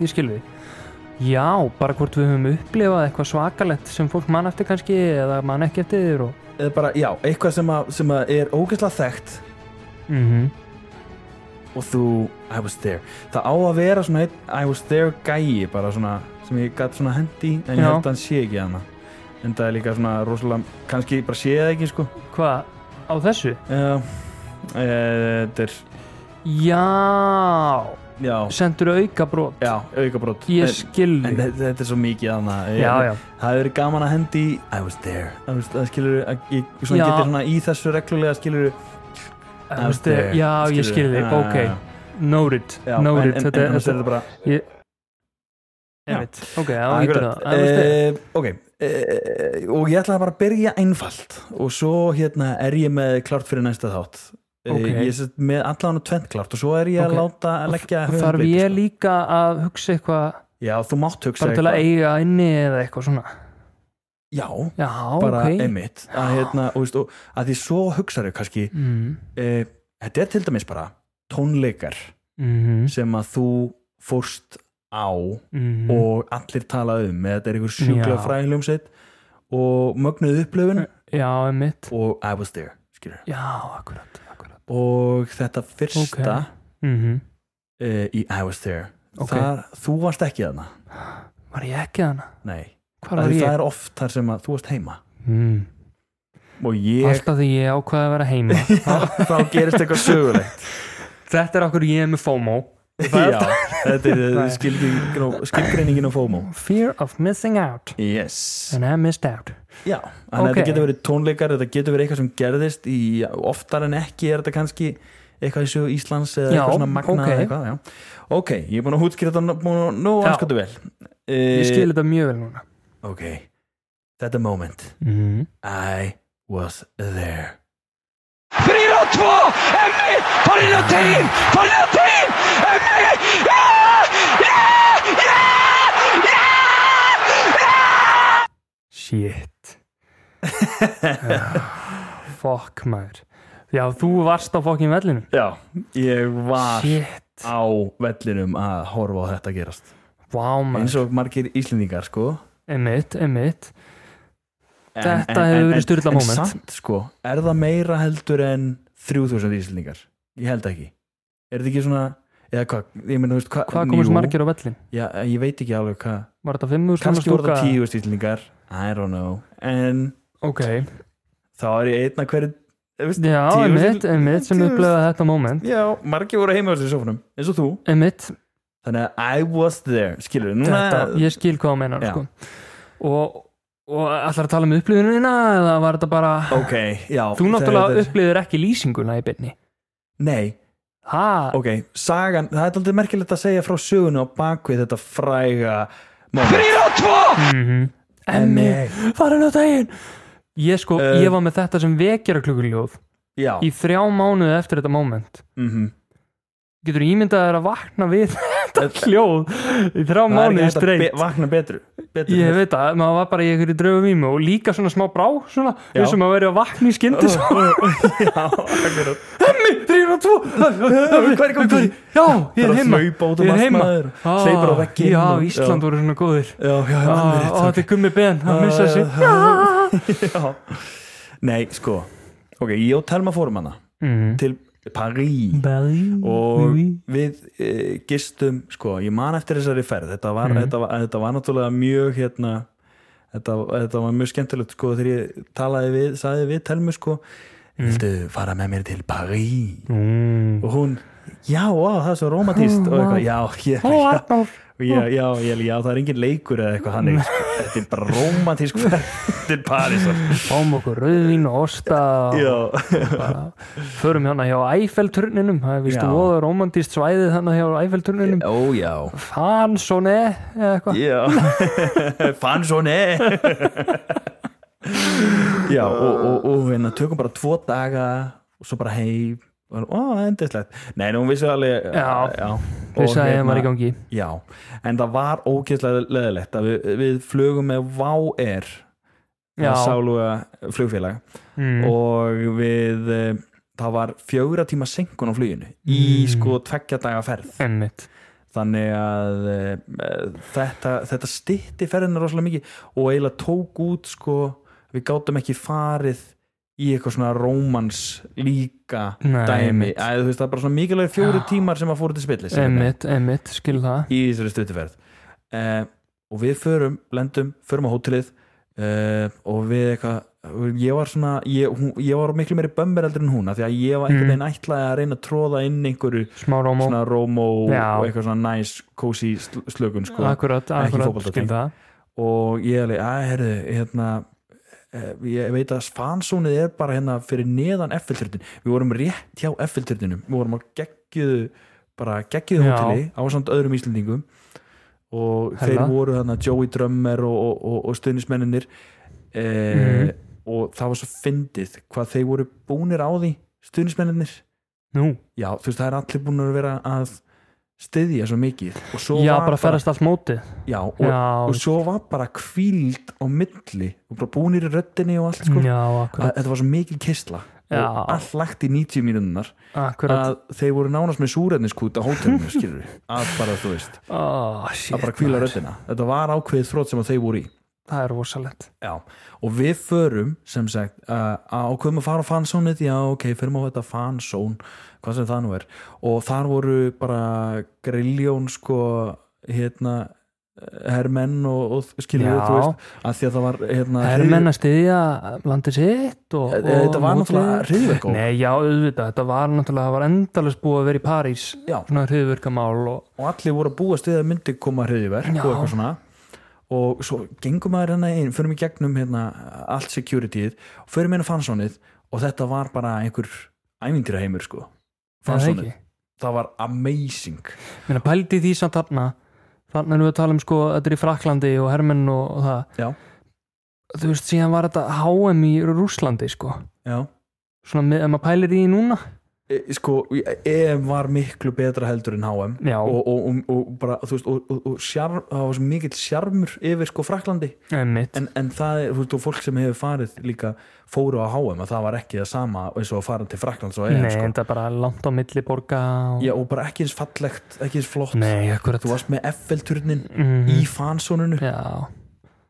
ég skil þið Já, bara hvort við höfum upplifað eitthvað svakalett sem fólk mann eftir kannski eða mann ekki eftir þér og
eða bara, já, eitthvað sem, að, sem að er ógeðslega þekkt
mm
Mhm. og þú, I was there það á að vera svona einn I was there gæi bara svona sem ég gætt svona hendi en ég
Já.
held að hann sé ekki hana en það er líka svona rosalega kannski bara sé það ekki sko
Hvað, á þessu?
já, eh, þetta er
Já,
já,
sendur auka brot
já, aukabrót
Ég
en,
skil
en
þig
þetta, þetta er svo mikið hana
Já, já,
það hefur verið gaman að hendi I was there I was, það skilur að ég svona
Já.
getur svona í þessu reglulega skilur
Þú veist, eh, já, ég skil þig, ok Noted, noted
en, en,
Þetta
en,
er
annars er
þetta
þetta bara Já.
bara Ok, já, ég getur það
Akkurat.
Þú veist,
Eh, Ok, eh, og ég ætlaði bara að byrja einfalt og svo hérna er ég með klart fyrir næsta þátt Eh,
Ok.
Ég er sem sagt með allan og tvent klart og svo er ég
Ok.
að láta að leggja
Og
höfum
Þarf
bleyti,
ég
sko.
líka að hugsa eitthvað
Já, þú mátt hugsa
bara til að
eitthvað.
eiga inni eða eitthvað svona
Já,
Já,
bara
ok
einmitt að, hérna, og, veist, og, að því svo hugsaðu kannski
mm.
eh, Þetta er til dæmis bara tónleikar
Mm
sem að þú fórst á
-hmm.
og allir tala um eða þetta er einhver sjúkla
Já. Eh.
fræðinljómsveit og mögnuð upplöfun
Já, einmitt
og I was there, skilur
Já, akkurat, akkurat.
og þetta fyrsta
Mm
Mhm. okay. í I was there
Ok.
þar, þú varst ekki þarna
Var ég ekki þannig?
nei,
Hvar
það,
var ég?
það er oft þar sem að þú varst heima
Mm.
og ég
Alltaf því ég ákvaði að vera heima
þá gerist eitthvað sögulegt
Þetta er okkur ég er með FOMO
já, þetta er
Nei.
eh, skilgreining á- skilgreiningin á FOMO
Fear of missing out
yes,
And I missed out
já þannig að
Ok.
þetta getur verið tónleikar, þetta getur verið eitthvað sem gerðist í oftar en ekki er þetta kannski eitthvað í sögu Íslands eða
Já,
eitthvað svona magnað
ok.
okay. eitthvað, já. ok, ég er búin að hútskýra þetta nú
Já.
anskotu vel Eh,
ég skil þetta mjög vel núna
Ok, þetta moment
mm.
Mhm. I was there
shit Ah, fuck maður já þú varst á fokkin vellinu
Já, ég var
shit,
á vellinum að horfa á þetta gerast
wow
eins
maður
og margir íslendingar sko
emitt, emitt
En-
Þetta
en-
hefur
en-
verið
en-
sturlað moment.
En samt sko, er það meira heldur en 3000 íslendingar? Ég held ekki Er þetta ekki svona, eða hvað, ég meina þú veist hva,
hvað komist margir á vellin?
Já, ég veit ekki alveg hvað
var þetta 5.000
Kannski voru það
stúka?
10 íslendingar I don't know En
ok,
þá er ég einn að hverju þú veist,
já
10.000
emitt, emitt sem
10.000.
upplegaði þetta moment
Já, margir voru heima á þessu sofunum eins og þú
emitt,
Þannig að I was there, skilur við núna
þetta, ég skil hvað það meinar
Já.
sko. og, og allar að tala um upplifunina eða var þetta bara
Ok, já
þú
þetta
náttúrulega
er-
upplifir ekki lýsinguna í byrni
Nei,
ha,
ok, sagan, það er aldrei merkilegt að segja frá sögunu á bakvið þetta fræga moment.
Mhm. emmi, farin á daginn ég sko,
Eh.
ég var með þetta sem vekjara klukkuljóð
Já,
í þrjá mánuði eftir þetta moment
mhm.
getur ímyndað þér að vakna við þetta hljóð í þrjá
Eh, það er ekki
mánuði
hægt að be-
streitt
vakna betru. betru.
ég veit að maður var bara í einhverju draugum í mig og líka svona smá brá svona,
Já.
eins og maður verið að vakna í skyndi svo
Já, akkurat.
emmi, þrjir og tvo
Hver kom til?
já, ég
Bara
er heima
hlaupa út
ég
um
er
allt
heima
maður,
Ah,
hleypur á vegginn
já,
og-
Ísland
já.
voru svona góðir
Já, já, já,
Ah,
alveg rétt,
og þetta er gummi ben, hann missaði sig
Já. Já. Nei, sko, ok, ég og Telma fórum hana
Mhm.
til París og við e, gistum, sko, ég man eftir þessari ferð þetta var, þetta var, þetta var náttúrulega mjög hérna, þetta, þetta var mjög skemmtilegt sko, þegar ég talaði við sagði við Telmu, sko viltu fara með mér til París
Mm.
og hún, já, á, það er svo romantíst og eitthvað, já, ég,
Ó,
já,
Arnór.
já, já, já, já, það er engin leikur eða eitthvað hann sko. þetta er bara romantísk ferð til
sko.
Parísar
fáum okkur rauðvín og osta og
já,
bara förum hérna hjá Eiffelturninum það er vist
Já.
voða romantist svæðið hérna hjá Eiffelturninum
ó já
Fansone eða eitthvað
Já, fann svo ne Já, og, og, og hérna, tökum bara tvo daga og svo bara heim og ó, endislegt Nei, nú vissi alveg
Já.
og hérna-
þess að ég var í gangi
Já, en það var ógeðslega leðilegt að við, við flugum með Wow Air eh,
Já.
sáluga flugfélag
mm.
og við eh, það var fjögra tíma senkun á fluginu í
Mm.
sko tveggja daga ferð
Einmitt.
þannig að e, e, þetta, þetta stitti ferðina rosalega mikið og eiginlega tók út sko, við gátum ekki farið í eitthvað svona rómans líka
Nei,
dæmi
einmitt.
að, veist, það er bara svona mikilvæg fjóri tímar sem að fóru til spillis í
Einmitt, einmitt, skil það
þessari stuttuferð e, og við förum, lendum, förum á hótelið e, og við eitthvað ég var svona, ég, hún, ég var miklu meiri bömmir eldur en hún, af því að ég var einhvern veginn ætlaði að reyna að tróða inn einhverju
smá rómó,
svona rómó
Já.
og eitthvað svona næs, kósi slökun sko.
akkurat,
ekki
akkurat
fótboltatengt.
skil það
og ég alveg, að herðu hérna, eh, ég veit að fansónið er bara hérna fyrir neðan F-filtrutin, við vorum rétt hjá F-filtrutinum, við vorum á geggjuðu bara geggjuðu
Já.
hóteli á samt öðrum Íslendingum og
Hella.
þeir voru hérna Joey Drummer og, og, og, og stuðnismenninir e,
Mhm.
og það var svo fyndið hvað þeir voru búnir á því stuðnismenninir
nú,
já, þú veist, það er allir búin að vera að styðja svo mikið og svo
já
var
bara ferðast allt mótið
já, og, og
já,
svo var bara kvíld á milli og bara búnir í röddinni og allt sko.
já,
að,
akkurat
þetta var svo mikil kistla
Já.
og allt lagt í 90 mínunnar
akkurat,
að þeir voru nánast með súræðniskút á hótelinu, skilur við, að bara þú veist
oh,
að
shit,
bara kvíla
maður.
röddina, þetta var ákveðið þrótt sem að þeir voru í
það er rosalett
Já, og við förum sem sagt uh, ákveðum að fara á fansónið, já ok, förum á þetta fansón, hvað sem það nú er og þar voru bara grilljón sko hérna hermenn og, og skilur
Já.
þú veist, að því að það var hérna,
Það er menn að styðja landið sitt og,
Eh,
og
þetta var
mótið.
náttúrulega hryðjuverkaógn.
Nei, já, auðvitað, þetta var náttúrulega það var endalist búið að vera í París
Já.
svona hriðvirkamál og
og allir voru að búast við að myndi koma hriðiverk
Já.
og eitthvað svona og svo gengum maður hérna inn, förum í gegnum hérna, allt securityð og förum inn á fansónið og þetta var bara einhver ævindýra heimur sko
það er
fansónið,
ekki
það var amazing
Mér pældi því samt þarna þannig erum við að tala um sko þetta er í Fraklandi og Hermenn og, og það
Já.
þú veist, síðan var þetta HM í Rúslandi sko
já
svona, með- ef maður pælir í því núna
E- sko, EM var miklu betra heldur en HM
Já.
og, og, og, og bara, þú veist, og, og, og sjarm, það var svo mikill sjarmur yfir sko Fraklandi
einmitt,
en, en það er, þú veist, og fólk sem hefur farið líka fóru á HM að það var ekki það sama eins og að fara til Fraklands og EM
nei,
sko.
þetta er bara langt á milli borga og...
Já, og bara ekki eins fallegt, ekki eins flott
nei, akkurat
þú varst með FL-turnin
Mhm.
í fansónunu
já,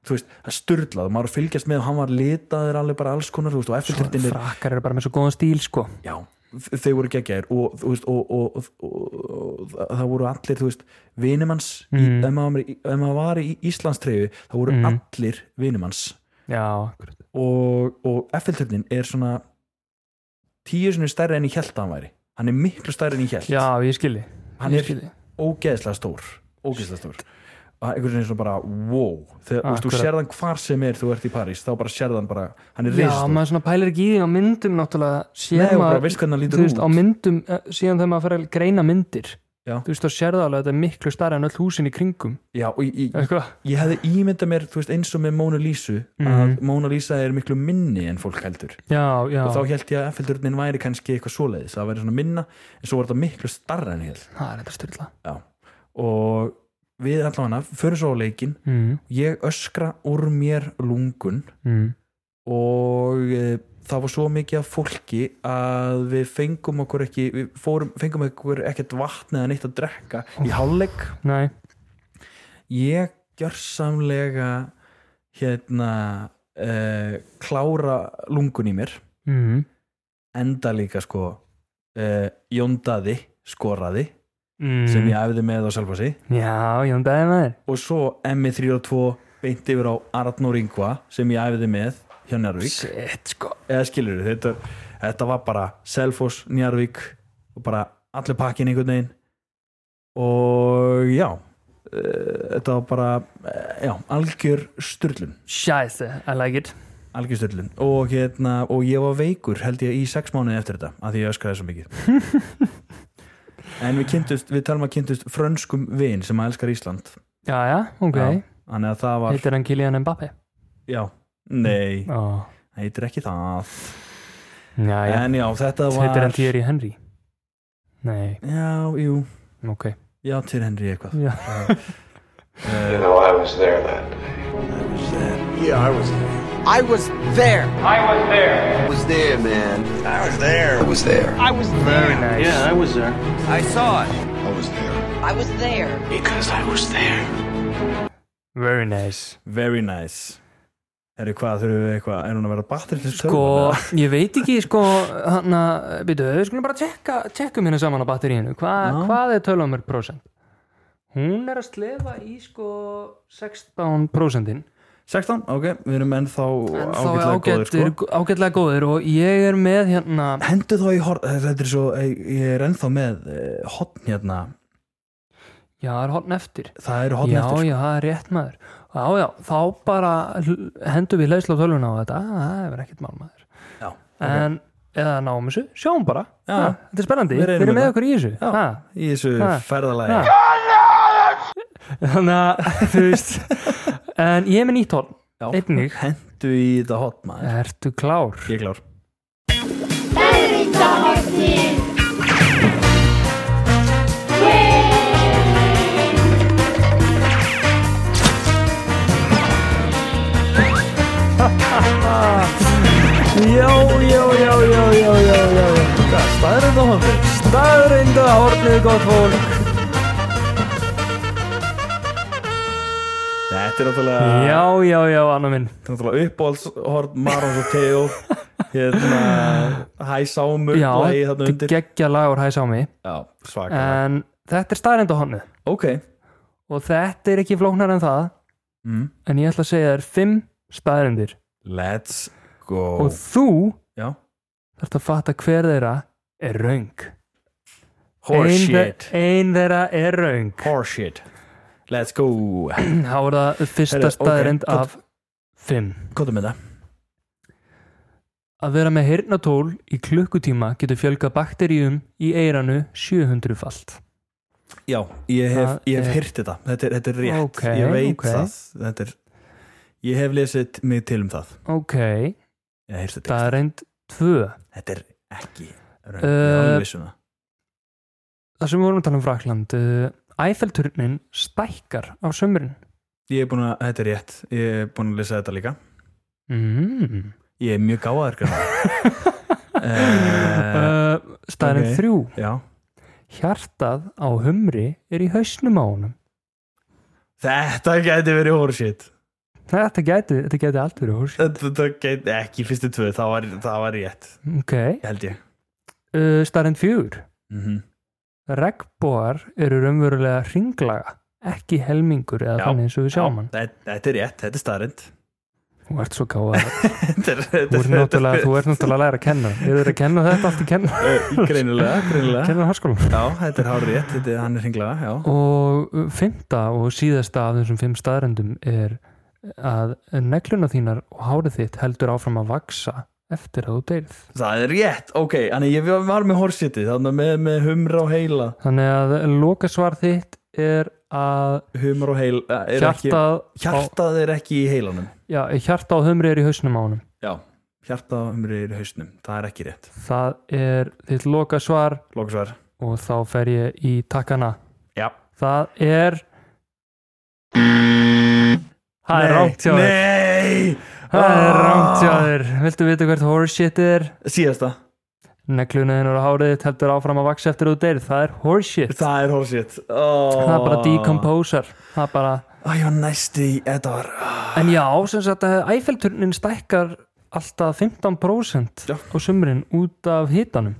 þú veist, það sturlaði, maður var að fylgjast með og hann var litaður alveg bara alls konar þú veist, og FL-turnin er
frakkar eru bara með svo góðan stíl sko
já, þ- þeir voru geggjæðir og, þú veist, og, og, og, og, og það- það voru allir, þú veist, vinimanns mm.
Mm.
ef maður var í- ef maður var í Íslandstreyfi það voru
Mm.
allir vinimanns
já, akkurat
og, og Eiffelturnin er svona tíu sinni stærri enn í hjælt hann væri, hann er miklu stærri enn í hjælt
já, ég skilji,
hann
ég
er
skilji.
ógeðslega stór ógeðslega stór og það er einhvern veginn svona bara, wow þegar þú veist, þú
Akkurat.
sérðan hvar sem er þú ert í París, þá bara sérðan bara hann er
Já,
risastór,
maður svona pælir ekki í því á myndum náttúrulega
Nei,
sér
og bara
maður,
veist hvernig hann lítur
þú veist,
út.
á myndum eh, síðan þegar maður fer að greina myndir
Já.
þú veist, þá sér það alveg að þetta er miklu starra en öll húsin í kringum
já, og í, í,
sko?
ég hefði ímyndað mér, þú veist, eins og með Mona Lísu að Mona Lísa er miklu minni en fólk heldur
Já, Mhm. já,
og þá held ég að Eiffelturnin væri kannski eitthvað svoleiðis, það væri svona minna en svo var þetta miklu starra en ég held
það er þetta styrla
já. og við allavega förum svo á leikin,
mm,
ég öskra úr mér lungun
mm.
og e, það var svo mikið af fólki að við fengum okkur ekki við fórum, fengum okkur ekkert vatn eða neitt að drekka í hálfleik
Nei,
ég gjörsamlega hérna uh, klára lungun í mér
mm.
enda líka sko uh, jóndaði, skoraði
Mm.
sem ég æfði með á Selfossi
Já, ég hann dæði með þér
og svo MI302 beint yfir á Arnur Ingva sem ég æfði með hjá Njarvík
Shit, sko
eða skilur þetta, þetta var bara Selfoss, Njarvík og bara allir pakkin einhvern veginn og já eh, þetta var bara eh, já, algjör styrlun
Scheiße, I like it
algjör styrlun og, hérna, og ég var veikur held ég í sex mánuði eftir þetta af því ég öskraði svo mikið en við kynntust, við talum að kynntust frönskum vin sem að elskar Ísland
Já, já, ok,
Já, þannig að það var
heitir hann Kilian Mbappe
já, nei,
oh.
heitir ekki það
Já, já,
en já, þetta
heitir hann
var
Thierry Henry Nei,
já, jú,
ok
já, til Henry eitthvað
Já,
You know, I was there that day.
I was there
I was there, man. I was there. I was there.
I was there
Yeah, I was there.
I saw it
I was there.
I was there.
Because I was there.
very nice
Very nice Eru hvað, þurfum við eitthvað, er hún að vera batterið til
Sko, ég veit ekki, sko, hann að, byrju, við skulum bara tjekka, tjekkum hérna saman á batteríinu, Hva,
Já.
hvað er tölumur prósent? Hún er að slefa í, sko, 16 prósentin.
16, ok, við erum ennþá
En þá er
Sko, ágætlega góðir
ágætlega,
sko
sko. ágætlega góður og ég er með hérna,
Hendu þá í horn, þetta er svo, ég ég er ennþá með eh, horn hérna
já, það er hotn eftir.
Það eru horn
já,
eftir sko.
já, það er rétt maður. Já, já, þá bara hl- hendum við leysla á tölvuna á þetta, það er ekkert mál maður.
Já, ok.
En, eða náum þessu, sjáum bara.
Já.
Ha, þetta er spennandi,
Við
við
reynum
erum með
þetta.
okkur í þessu.
Já.
Ha.
Í þessu
Ha.
ferðalagi
Ha. þannig að þú veist en ég er með nýtt horn
Já.
einnig.
Hendu í þetta horn maður
ertu klár
Ég er klár
já, já, já, já, já, já, já. staðrinda hornið staðrinda hornið gott fólk
Þetta er náttúrulega
já, já, já, annar minn
Þetta er náttúrulega uppáhaldshorn Marons og Teo Hérna, hæ sámur
já,
lagið þarna
þetta
undir.
er Eh, geggja lagur hæs á mig
Já, svaka
en þetta er staðrinda hornið
Ok,
og þetta er ekki flóknar en það
Mm.
en ég ætla að segja þér fimm staðrindir
let's go
og þú
Já.
þarft að fatta hver þeirra er raung ein, þe-
Oh, Horseshit
ein þeirra er raung
Horseshit Let's go
þá er það fyrsta Heri,
Heyrðu, ok,
staðrind
gott.
af fimm
Kóta með það
Að vera með heyrnatól í klukkutíma getur fjölgað bakteríum í eiranu 700 falt.
Já, ég hef,
Það
ég hef
er-
heyrt þetta þetta er, þetta er rétt,
Ok,
ég veit
ok.
það þetta er, ég hef lesið mig til um það
ok,
ég hef heyrt þetta,
það er reynd tvö
þetta er ekki raun,
Eh,
uh, vissuna
það sem við vorum að tala um Frakland uh, Æfelturnin stækkar á sömurinn
ég er búin að, þetta er rétt ég er búin að lesa þetta líka
mm.
ég er mjög gáðar uh,
uh, staðin
ok.
þrjú
já,
hjartað á humri er í hausnum á honum
þetta gæti verið horseshit
þetta gæti, þetta gæti allt verið hús
þetta, þetta gæti, ekki fyrstu tvö það var, það var rétt,
ok,
held ég
uh, staðin fjögur
mm
regnbóar eru raunverulega ringlaga ekki helmingur eða
Já.
þannig eins og við sjáum hann
þetta, þetta er rétt, þetta er staðrind
þú ert svo gáða
þetta er, þetta
þú ert náttúrulega, þú ert náttúrulega að læra að kenna við erum að kenna þetta allt í kenna
Eh, greinilega, greinilega
kenna háskólan
Já, þetta er hár rétt, þetta er hann er hringlega, já.
og uh, fimmta og síðasta af þessum fimm staðrendum er að negluna þínar og hárið þitt heldur áfram að vaksa eftir að þú deyrð
Það er rétt, ok, þannig ég var með horsiti, þannig með, með humra og heila.
þannig að lokasvar þitt er að
Humra og heila, eh, er ekki,
hjartað á,
hjartað er ekki í heilanum.
já, hjarta á humri er í hausnum á honum
Já, hjartað og humri er í hausnum, það er ekki rétt.
það er þitt lokasvar
Lóksvar.
og þá fer ég í takkana
Já.
það er það er rámt hjá þér
Nei!
það er rámt hjá
Ah.
þér viltu vita hvert horseshit er
Síðasta,
negluna þinn og hárið þitt heldur áfram að vaksa eftir að þú deyr það er horseshit það,
það er horsiti. Oh.
það er bara decomposer það er bara
Æ, ég var næsti í, þetta var, ah.
en já sem sagt að æfelturnin stækkar alltaf 15%
Já.
á sumrin út af hitanum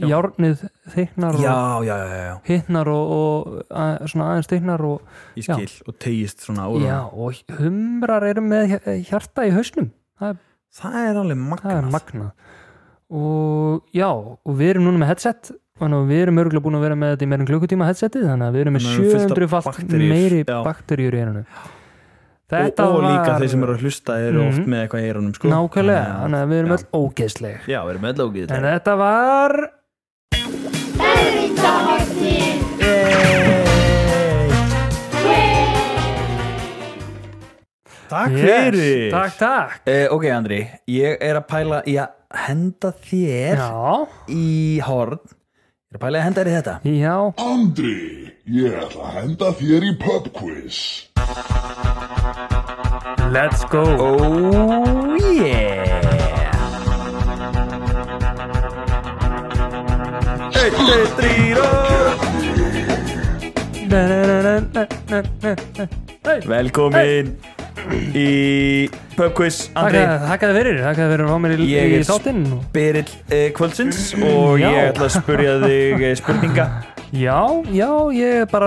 járnið þykknar
já,
og
já, já, já, já,
hittnar og, og að, svona aðeins þykknar og
ég skil og tegist svona úr.
Já, og humrar eru með hj- hjarta í hausnum
Það er alveg magnað.
það er magna og já, og við erum núna með headset þannig að við erum örgulega búin að vera með þetta í meirin klukkutíma headseti, þannig að við erum með
Þannig að við erum fullt af
700 falt
bakteríur,
meiri
já.
bakterjur í erinu
og,
þetta
og líka
var
þeir sem eru að hlusta eru
Mhm.
oft með eitthvað í eyrunum sko.
nákvæmlega,
Þannig
þannig að við erum
já.
öll ógeðsleg
að- já, við erum með lókið
en þetta var
takk
yes, takk, takk
Eh, ok Andri, ég er að pæla í að henda þér
já,
í horn ég er að pæla í að henda þér í þetta
já,
Andri, ég ætla að henda þér í pub quiz.
let's go
oh yeah Eitt, tveir, þrír og
Na, na, na, na, na, na, na, na.
Velkomin í pubquiz Andri
Þakka- þakkaði fyrir, þakkaði fyrir að fá mér í,
Ég
í
er
þáttinn og-
Berill eh, kvöldsins og
Já.
ég ætla að spurja þig eh, spurninga
Já, já, ég er bara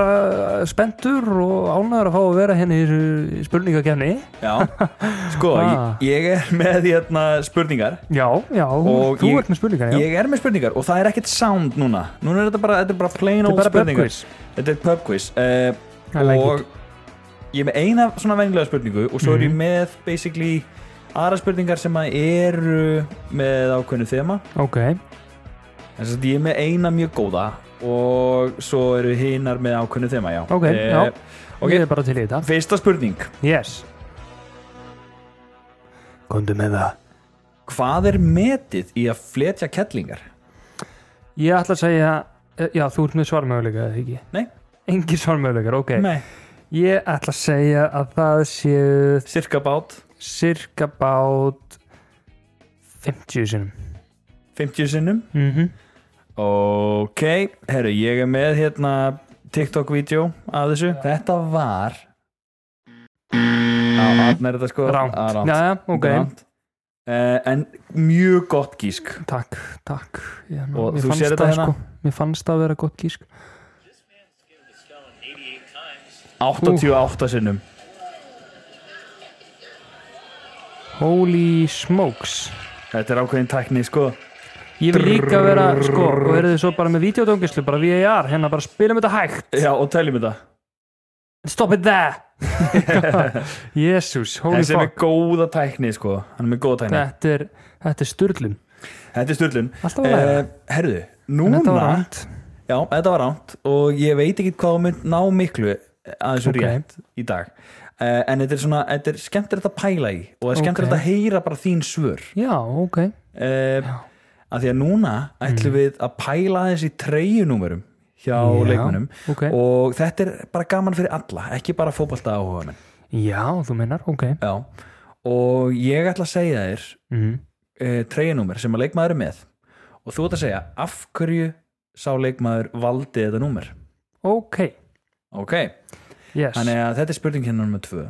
uh, spenntur og ánæður að fá að vera henni í þessu spurningakefni.
Já, sko,
Ah.
ég, ég er með hérna spurningar
Já, já,
Og
þú
ég-
ert með spurningar, já.
Ég er með spurningar og það er ekkert sound núna Núna er þetta bara, þetta er bara plain old
bara pub
spurningar
quiz.
Þetta er pub quiz uh,
I like
Og ég er með eina svona venjulega spurningu Og svo er ég
Mhm.
með basically aðra spurningar sem að eru með ákveðnu þema
Ok,
En svo ég er með eina mjög góða Og svo eru hinar með ákveðnu þema, já
ok,
Eh,
já,
ok.
ég er bara til í þetta.
Fyrsta spurning
Yes. Komdu með það.
Hvað er metið í að fletja kettlingar?
Ég ætla að segja, eh, já, þú ert með svarmöguleika, eða ekki?
Nei.
Engi svarmöguleikar, ok.
Nei
Ég ætla að segja að það séu
Cirka bát
cirka bát 50 sinum.
50 sinnum
Mm
Ok, herru, ég er með hérna TikTok-vídeó af þessu Þetta var Á, hann er þetta sko
Mm. Rangt.
Á,
Já, já, ok.
Þetta er rangt. Eh, En mjög gott gísk
Takk, takk ég,
Og
mér
þú
fannst
sérð þetta
það,
hérna?
Mér fannst það að vera gott gísk
88 sinnum
Holy smokes
Þetta er ákveðin tækni, sko
Ég vil líka vera, sko, og verðið svo bara með videodóngislu, bara VAR, hérna bara spilum þetta hægt
Já, og teljum þetta
Stop it there Jesus, holy
Þessi er með
fuck
góða tækni, sko Hann er með góða tækni
Þetta er, þetta er styrlum
Þetta er styrlun
Alltaf að læra.
Herðu,
En þetta var
Eh, núna
rangt
Já, þetta var ránt og ég veit ekki hvað hún mynd ná miklu að þessu
Ok.
rétt í dag uh, en þetta er svona, þetta er skemmtilegt að pæla í og það er skemmtilegt
Ok.
að heyra bara þín svör
Já, ok
uh, að því að núna ætlum við að pæla aðeins í treyjunúmerum hjá
Mhm. Já,
leikmönnum
ok.
og þetta er bara gaman fyrir alla, ekki bara fótbolta áhuga menn
Já, þú minnar, ok
Já. og ég ætla að segja þér
mm.
uh, treyjunúmer sem að leikmaður er með og þú ætla að segja af hverju sá leikmaður valdi þetta númer
Ok,
ok
yes
Þannig að þetta er spurning hérna nummer tvö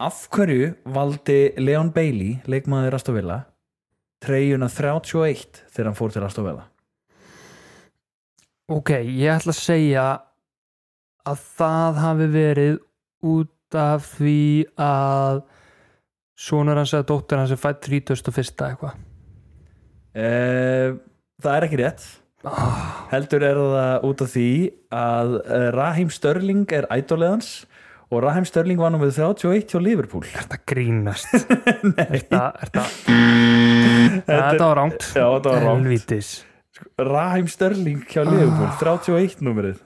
Af hverju valdi Leon Bailey, leikmaður Astovilla treyjuna 31 þegar hann fór til Astovilla?
Ok, ég ætla að segja að það hafi verið út af því að sonur hans eða dóttir hans er fætt 31. eitthvað
Uh, það er ekki rétt Heldur er það út af því að eh, Raheem Störling er ædóleðans og Raheem Störling var nummer 31 hjá Liverpool
Þetta grínast Þetta, þetta, þetta var rámt
Já, þetta var rámt.
Helvítis,
Raheem Störling hjá Liverpool,
Ah.
31 nummerið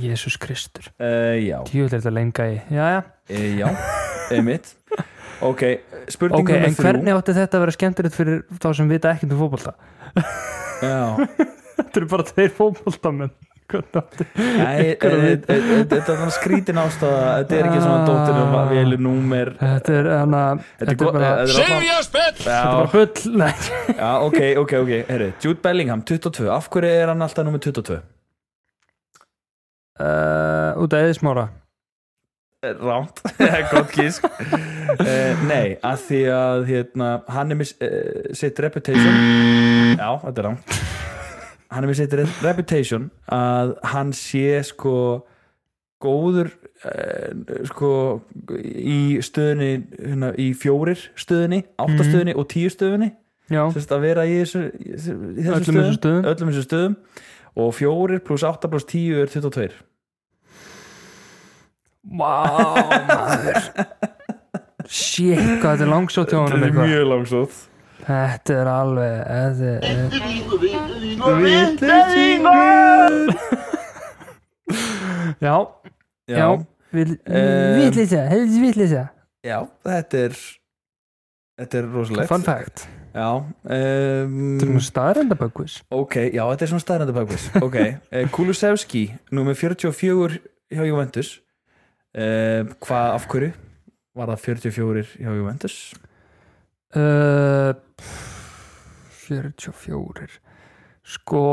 Jésús Kristur
uh, Já,
Tjóðlega þetta lenga í Jæja,
uh, já, einmitt Ok, spurning
ok, en
nummer þrjú
hvernig átti þetta að vera skemmtilegt fyrir þá sem vita ekkert um fótbolta?
Já,
Þetta eru bara þeir fótboltamenn Hvernig átti
Nei, e- e- e- e- þetta er svona skrítin ástæða þetta er ekki svona dóttir um að velu númer
Þetta er hana
Þetta er bara
bara
Já,
bull Nei
já, ok, ok, ok Herri, Jude Bellingham, 22, af hverju er hann alltaf númer 22?
uh, út af eðismára
Eh, Rámt, gott gísk uh, Nei, að því að hérna, hann er með uh, sitt reputation Já, þetta er rámt Hann er með sitt re- reputation að hann sé sko góður uh, sko í stöðunni hérna, í fjórir stöðunni áttastöðunni og tíu stöðunni
Mhm. já,
sérst að vera í þessu, í þessu í þessum
Öllum þessum stöðum.
öllum þessum stöðum og fjórir pluss átta pluss tíu er 22
vá maður shit, hvað þetta er langsótt hjá honum eitthvað.
langsótt
þetta er alveg þetta er, já, já,
Já,
vill
Um,
vitlisa, helvits vitlisa
já, þetta er þetta er rosalegt
fun fact,
Já, um,
þetta er nú staðrendabökkvis
ok, já, þetta er svona staðrændi bakvis Ok, uh, Kulusevski nummer 44 hjá Juventus uh, Hvað af hverju? Var það 44 hjá Juventus?
uh, pff, 44 sko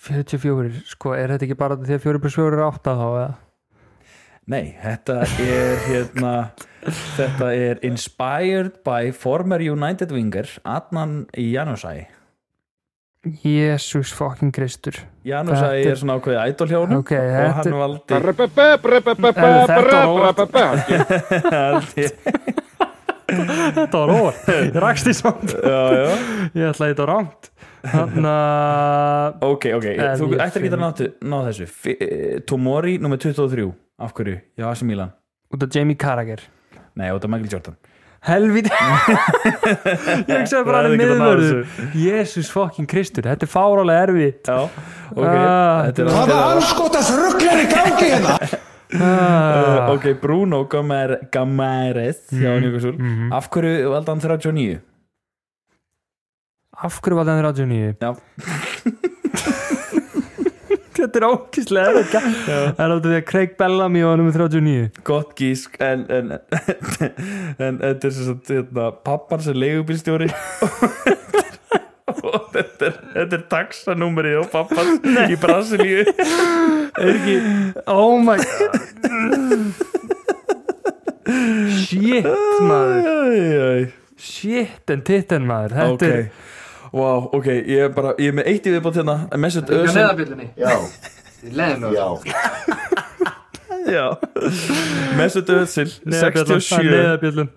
44 sko, er þetta ekki bara því að 4 plus 4 er 8 þá eða
Nei, þetta er hérna Þetta er inspired by former United winger Adnan Janusai
Jésús fokkin Kristur
Janusai
Þetta er-
er svona ákveðið ædol hjá honum
Ok,
og
þetta
hann
er
valdi valdi
Þetta var óvart, rakst í samt
já, já.
Ég ætlaði þetta rámt Þannig að
Ok, ok,
En
þú
ég
ættir ekki að
finn-
nátu, ná þessu F eh, Tomori, nummer 23, af hverju? Já, AC Milan
Út af Jamie Carragher
Nei, þetta er Michael Jordan
Helvít Ég hugsaði bara hann
Ég
er
hefði ekki getað náð
miðvörður Jésús fokkin Kristur, þetta er fárálega erfitt
Já, ok,
Ah,
þetta er þetta er-
ah,
Eh, Ok, Bruno Gamer, Gameres hjá
Mhm,
Newcastle Af hverju valdi hann 39?
Af hverju var það 39?
Já,
Þetta er ókíslega erfitt Það er út af því að Craig Bellamy var nummer 39
gott gísk en, en, en þetta er sem sagt hérna, pappan sem leigubílstjóri og þetta er, þetta er taxanúmerið á pappan í Brasilíu
Oh my god Shit maður
Æjæj
Shit en titten maður Þetta
ok,
er
wow, ok, ég er bara ég er með eitt í viðbót hérna Mesut Özil Já. Mesut Özil
Neðabjöllun, það er
67
neðabjöllun.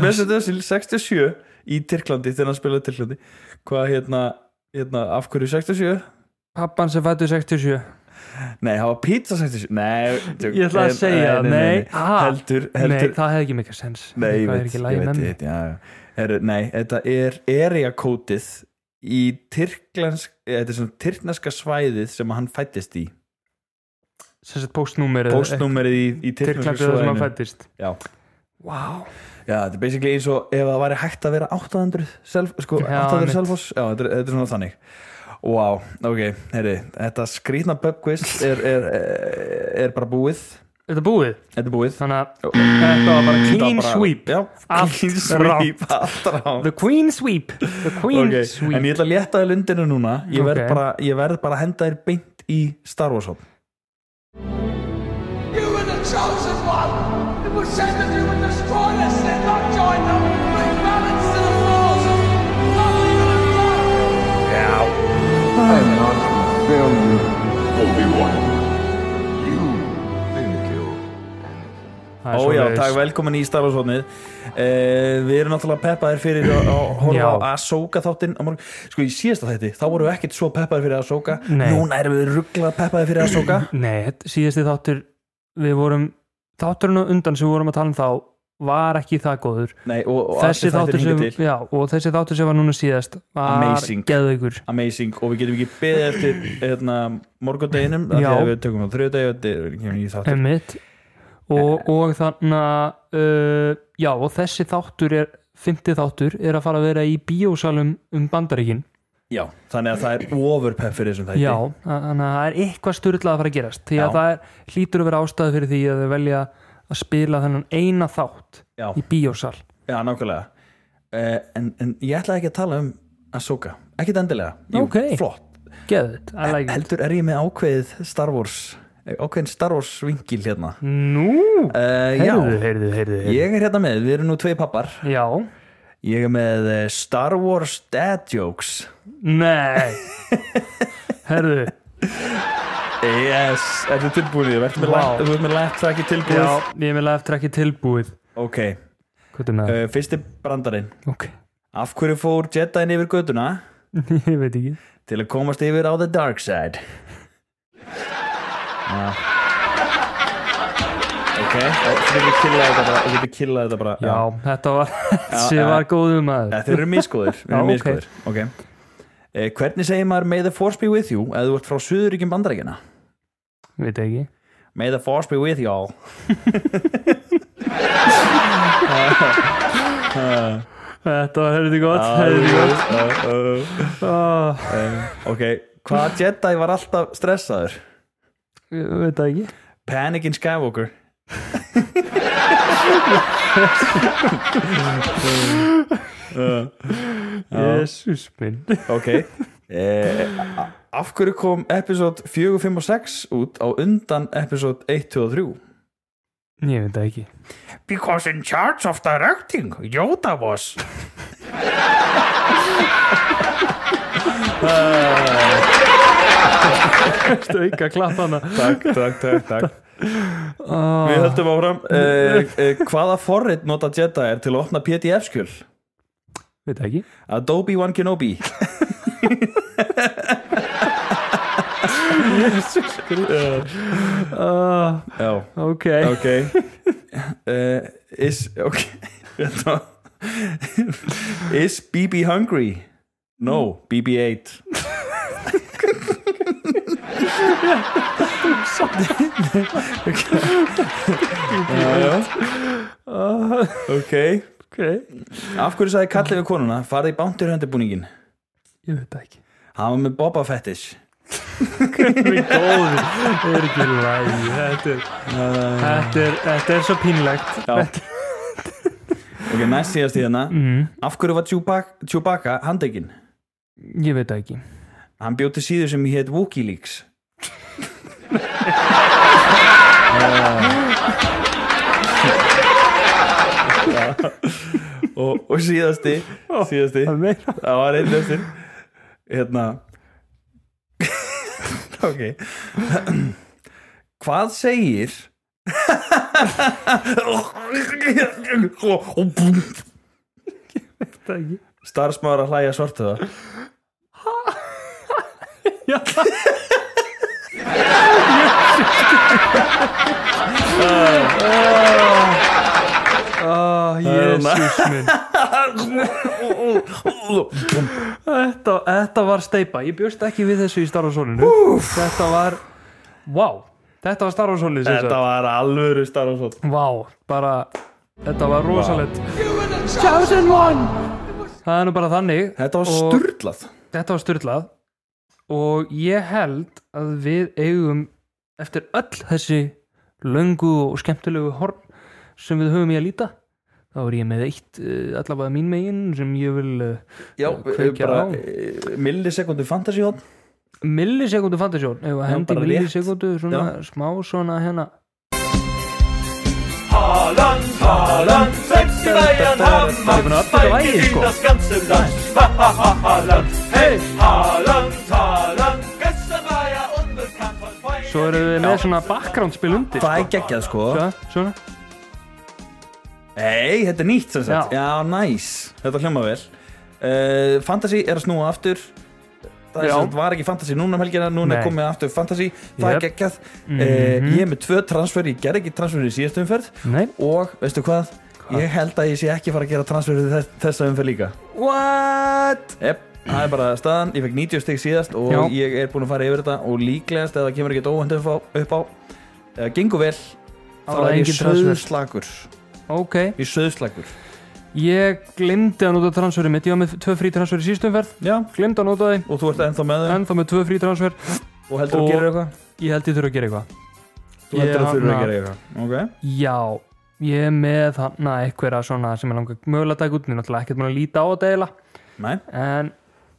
Mesut Özil 67 í Tyrklandi þegar hann spilaði í Tyrklandi hvað hérna, hérna, af hverju 67?
Pappan sem fættu 67
Nei, það var pizza 67 Nei, tjók,
Ég ætla að
en-
segja, nei, ah,
heldur, heldur
Nei, það hefði ekki mikil sens
Nei,
Eitthvað er
ég veit,
ekki
ég
lægi
veit,
með
ég
mig
veit já, já. Heru, Nei, þetta er area kótið í tyrklensk, eh, þetta er svona tyrkneska svæðið sem hann fættist í
sem sett postnúmerið
postnúmerið í, í tyrkneska
Tyrklandið Eh, sem hann
svæðinu
fættist
já.
Vá,
já, þetta er basically eins og ef það væri hægt að vera 800 self, sko,
Já,
800
einmitt.
selfos, já, þetta er, þetta er svona þannig wow, ok, heyri þetta skrýtna pubquiz er, er, er, er bara búið
þetta er búið
þetta er búið
þannig að þetta var bara
Þetta var
clean
bara-
sweep
já,
Allt
clean sweep, allt rátt
the queen sweep the queen
Ok,
sweep
En ég ætla að létta þér lundinu núna ég verð,
Ok.
bara, ég verð bara að henda þér beint í Star Wars hop
You were the chosen one. It was said that you would destroy us and not join them. Bring balance to the force. Not even a thought.
I'm not gonna film you, Obi-Wan. You think you.
Það er
Ó já,
svoleiðis.
takk velkomin í Star Wars hopnið eh, Við erum náttúrulega peppaðir fyrir að að horfa
Já.
á Ahsoka þáttinn á morgun. Sko í síðasta þætti, þá vorum við ekkert svo peppaðir fyrir Ahsoka
Nei.
Núna erum við rugglað peppaðir fyrir Ahsoka
Nei, þetta- síðasti þáttur við vorum, þátturinn á undan sem við vorum að tala um þá var ekki það góður
Nei, og, og
þessi
allir þættir
þáttur,
hingað
sem, já, og þessi þáttur sem var núna síðast var
Amazing.
geðveikur
Amazing, og við getum ekki beðið eftir hérna, morgundeginum af því
Já.
að Við tökum á þriðdegi og þetta er kemur í þáttur
Einmitt. og,
Eh.
og þannig að uh, já, og þessi þáttur er fymti þáttur er að fara að vera í bíósalum um bandaríkin
Já, þannig að það er overpepp fyrir þessum þætti
já, þannig að það er eitthvað styrlað að fara að gerast því að
Já.
það er, hlýtur að vera ástæði fyrir því að þau velja að spila þennan eina þátt
Já.
í bíósal
Já, nákvæmlega uh, en, en ég ætlaði ekki að tala um Ahsoka, ekkit endilega Jú,
Ókei.
flott,
geðið, I like it
heldur er ég með ákveðið Star Wars, ákveðin Star Wars vinkil hérna
nú,
uh, Já,
Mm. heyrðu, heyrðu, heyrðu, heyrðu.
ég er hérna með, við erum nú tvei pappar
já,
Ég er með eh, Star Wars Dad Jokes
nei heyrðu,
Yes, þetta er tilbúinir, verður með,
Vá.
lap- þú ert með laptracki tilbúið
já, ég vil eftir ekki tilbúið
Ok,
hvað er með það?
uh, fyrsti brandarinn
ok,
Af hverju fór Jediinn yfir göduna
ég veit ekki
til að komast yfir á The Dark Side? Já Ok, þú getur killað þetta bara, þú getur killað þetta bara
já, þetta var, þessi
já.
var góðu maður
Ja, Þeir eru miskoðir, þeir eru
Já, ok.
miskoðir okay. Eh, Hvernig segir maður May the force be with you eða þú ert frá Suðuríkjum bandarækina?
veit ekki
May the force be with you all
Þetta var heldur gott, heldur gott.
uh, uh,
Ah,
Ok, hvað Jedi var alltaf stressaður?
Ég veit það ekki.
Panic in Skywalker uh,
Jésús minn.
Ok eh, a- Af hverju kom episode 4, 5 og 6 út á undan episode 1, 2 og 3?
Ég veit það ekki.
Because in charge of directing Yoda was
Þetta er ekki að klappa hana.
Takk, takk, takk, takk Við höldum áfram eh, eh, Hvaða forrit nota Jedi er til að opna PDF-skjöl?
Veit það ekki.
Adobe One Kenobi
Ah,
Já,
ok.
ok uh, Is, ok Þetta var- Is BB hungry? No, BB-8 Ah, Já, já. Ok
Ok.
Af hverju sagði kallið við konuna farði í bántur höndibúningin
Ég veit það ekki.
Hann var með Boba Fettish
Við góðum. Það er ekki lægi. Þetta er, þetta er, þetta er svo pínlegt.
Ok, næst síðast í hérna Af hverju var Chewbacca, Chewbacca handekinn?
Ég veit það ekki.
Hann bjóti síður sem hétt Wikileaks Já. og, og síðasti síðasti
Það meira.
Það var einn eftir Hérna Ok Hvað segir
Það ekki.
Starfsmáður að hlæja svartuða
Ah, jésús minn. þetta, þetta var steipa ég bjóst ekki við þessu í starfarsólinu þetta var wow, þetta var starfarsólinu
Þetta var alvöru Star Wars hot.
wow, bara, þetta var rosalegt
Chosen one!
það er nú bara þannig
Þetta var
Og-
sturlað
þetta var styrlað og ég held að við eigum eftir öll þessi löngu og skemmtilegu horn sem við höfum í að líta þá er ég með eitt uh, allavega mín megin sem ég vil uh,
Já,
kveikja
bara
á.
eh, millisekundu fantasy hot
millisekundu fantasjón ef að
Já,
hendi
bara rétt.
millisekundu svona smá svona hérna Haaland, Haaland, sexti lægjan hann maður fækir sko. Svo erum við með svona bakgrándspil undir
Það er geggjað sko
Svona, svona
Nei, þetta er nýtt sem sagt Já, næs Þetta hljóma vel uh, Fantasy er að snúa aftur Það er
Já.
sem sagt, var ekki fantasy núna um helgina
Nei.
Núna er komið aftur fantasy Það
Jep. Mhm.
er geggjað mm Ég er með tvö transfer Ég ger ekki transfer í síðastu umferð
Nei
Og, veistu hvað? Ég held að ég sé ekki fara að gera transfer í þess, þessa umferð líka
What?
Jep, það er bara staðan, ég fekk 90 stygg síðast og
Já.
ég er búinn að fara yfir þetta og líklegast ef það kemur ekkert óvænt upp á, upp á eða gengur vel þá
var
er ég
engin transfer.
söðslagur
Ok
ég söðslagur
Ég glemdi að nota transferið mitt Ég var með tvö frí transfer í síðustu umferð
Já,
Glemdi að nota þeim
og þú ert ennþá með þau
Ennþá með tvö frí transfer
og
og-
heldur þú gerir eitthvað?
Ég held ég þurfa að gera eitthvað
Þú
Ég-
heldur þú þurfur
na-
að gera eitthvað Ok,
Já, ég er með hann einhverja svona sem er langar mögulega að taka út, ég er náttúrulega ekkert mér að líta á þetta eiginlega
næ,
en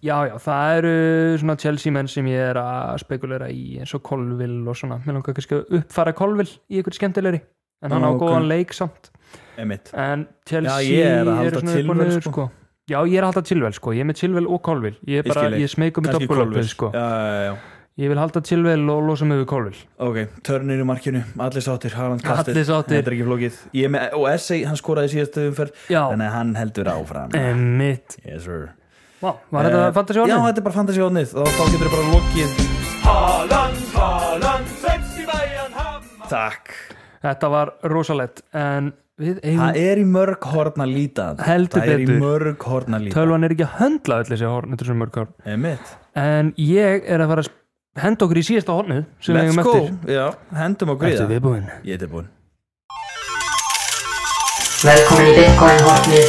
já, já, það eru svona Chelsea menn sem ég er að spekulera í eins og Colville og svona mér langar kannski að uppfæra Colville í einhverju skemmtilegri en hann á
Ok.
góðan leik samt
emitt
en Chelsea
Já, ég er að halda
eru svona upp og
Chilwell,
niður,
sko.
sko. Já, ég er að halda Chilwell sko, ég er með Chilwell og Colville ég er
Ég
bara,
skil þig.
ég, smeykum með
Kannski
doppulöpið
Kolvill
sko
Já, já, já
ég vil halda Chilwell og losa mig við Colville
Ok, törnir í markinu, allir sáttir, Haaland kastir
Allir sáttir.
Þetta er ekki flókið Ég er með, og Essay, hann skoraði í síðastu umferð
Já.
Þannig að hann heldur áfram
Emmitt,
Yes sir
Vá, var þetta
Eh,
fantasy orðið?
Já, þetta er bara fantasy orðið þá, þá getur bara lokið Takk
Þetta var rosalett en við
Það
eigum,
er í mörg horn að líta
Heldur
Það er í
betur.
mörg horn að líta
tölvan er ekki að höndla öll þessi horn, þetta er svo mörg horn
Einmitt.
en ég er að fara að sp- henda okkur í síðasta hornið sem við
Let's
eigum
go
eftir
já, Hendum okkur í
Ertu
það
viðbúinn?
Ég er tilbúin
Velkomin í Bitcoin hotnið.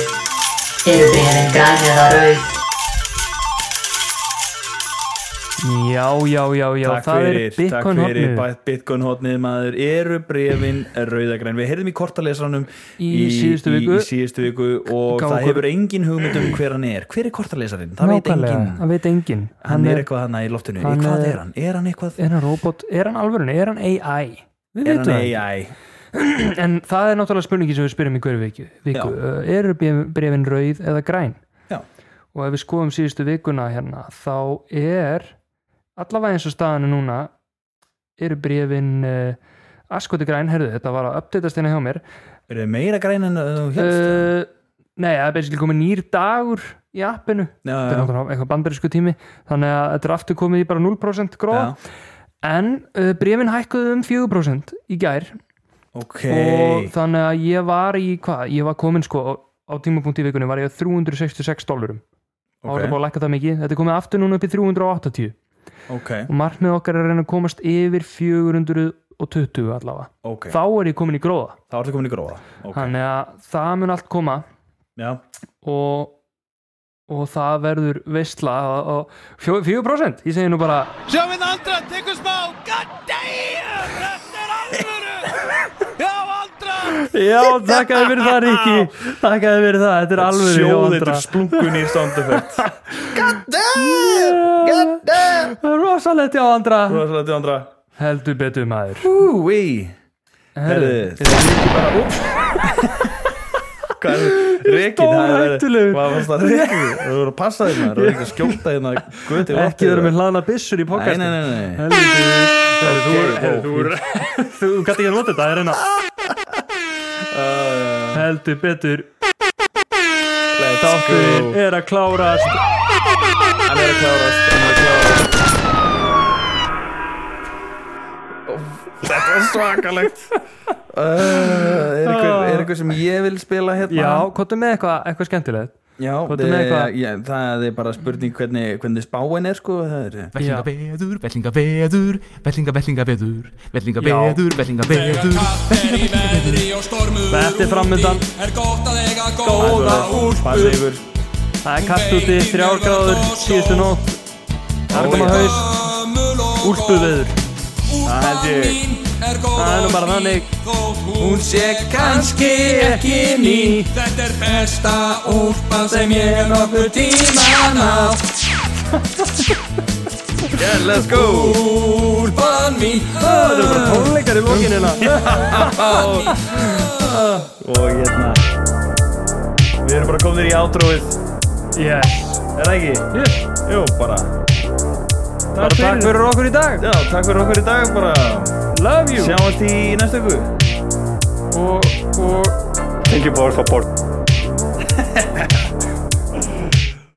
Eru bréfin græn eða rauð?
Já, já, já, já,
Takk
það
fyrir,
er
takk
Bitcoin
fyrir
hornið
bætt Bitcoin hotnið maður eru brefin rauðagræn Við heyrðum í kortalesaranum
Í síðustu viku.
í, í síðustu viku og
Gá
það
okkur-
hefur engin hugmynd um hver hann er Hver er kortalesarin? Það veit engin
það veit engin
Hann er eitthvað hann í loftinu
hann
Hvað
er-
er hann? Er hann eitthvað?
er hann robot, er hann alvörun, er hann AI við
Er
veitum
hann
það ekki.
AI?
en það er náttúrulega spurningi sem við spyrjum í hverju viku, viku. Uh, eru bréf- bréfin rauð eða græn
Já.
og ef við skoðum síðustu vikuna hérna þá er allavega eins og staðan er núna eru bréfin uh, askoti græn, herðu þetta var að uppdatast hérna hjá mér
Er það meira græn en þú helst?
uh, nei, það er basically komið nýr dagur í appinu,
Já,
þetta er
já,
náttúrulega eitthvað bandarísku tími þannig að þetta er aftur komið í bara 0% gróða,
já.
en uh, bréfin hækkuðu um 4% í gær
Ok
og þannig að ég var í hvað, ég var komin sko á- á tímapunkt í vikunni var ég á 366 dólarum þá var
Ok.
það búið að lækka það mikið, þetta er komið aftur núna upp í 380
Ok,
og markmið okkar er að reyna að komast yfir 420 allavega
ok
þá er ég komin í gróða,
Þá ertu komin í gróða Ok,
þannig að það mun allt koma
já
og og það verður veistla og, og fjó- 4% ég segi nú bara
Sjáum við andra, tekur smá God damn, þetta er alvöru Já, andra
já, þakkaði fyrir það Ríkki þakkaði fyrir það, þetta er alveg
Sjóðið til splungun í sound effect
rosalegt já andra
Þú var svolítið andra
heldur betur maður
Húi Herðu Hvað er Rekin
Stórhættulegur.
Hvað fannst það rekin? Þú voru að passa þér maður Þú voru ekki að skjóta hérna Guti
ekki vera með hlaðna byssur í
Nei,
pokast
nei, nei, nei
þú þú gæti ekki að nota þetta hérna. það er reyna heldur betur
Let's
þátturinn
go
er að klárast
Hann er að klárast Hann er að klárast Þetta var svakalegt uh, Er eitthvað sem ég vil spila hérna?
já, hvað er með eitthvað eitthvað skemmtilegt
Já,
Hvað er með eitthvað?
já, það er bara spurning hvernig, hvernig spáin er sko það er,
Vellingabeður, vellingabeður, vellingabeður, vellingabeður, vellingabeður
er í veðri og stormur
Þetta er framundan
Er gott að eiga
Góða
góða
úlpur Það er kast úti, þrjár gráður síðustu nótt Argum á haus Úlpuveður Það held ég Það er nú bara þannig
Hún sé kannski ekki ný Þetta er besta úlpa sem ég er nokkuð tíman átt
Yeah, let's go
Úlpan mín Það
er bara tónleikar í lokinina
hérna. og hérna við erum bara komin í átrúið
Yes
er það ekki? Yes. Jú, bara
Bara takk fyrir okkur í dag
Já, takk fyrir okkur í dag bara
Love you
Sjáumst í næstu ykkur
Og, og
Thank you for support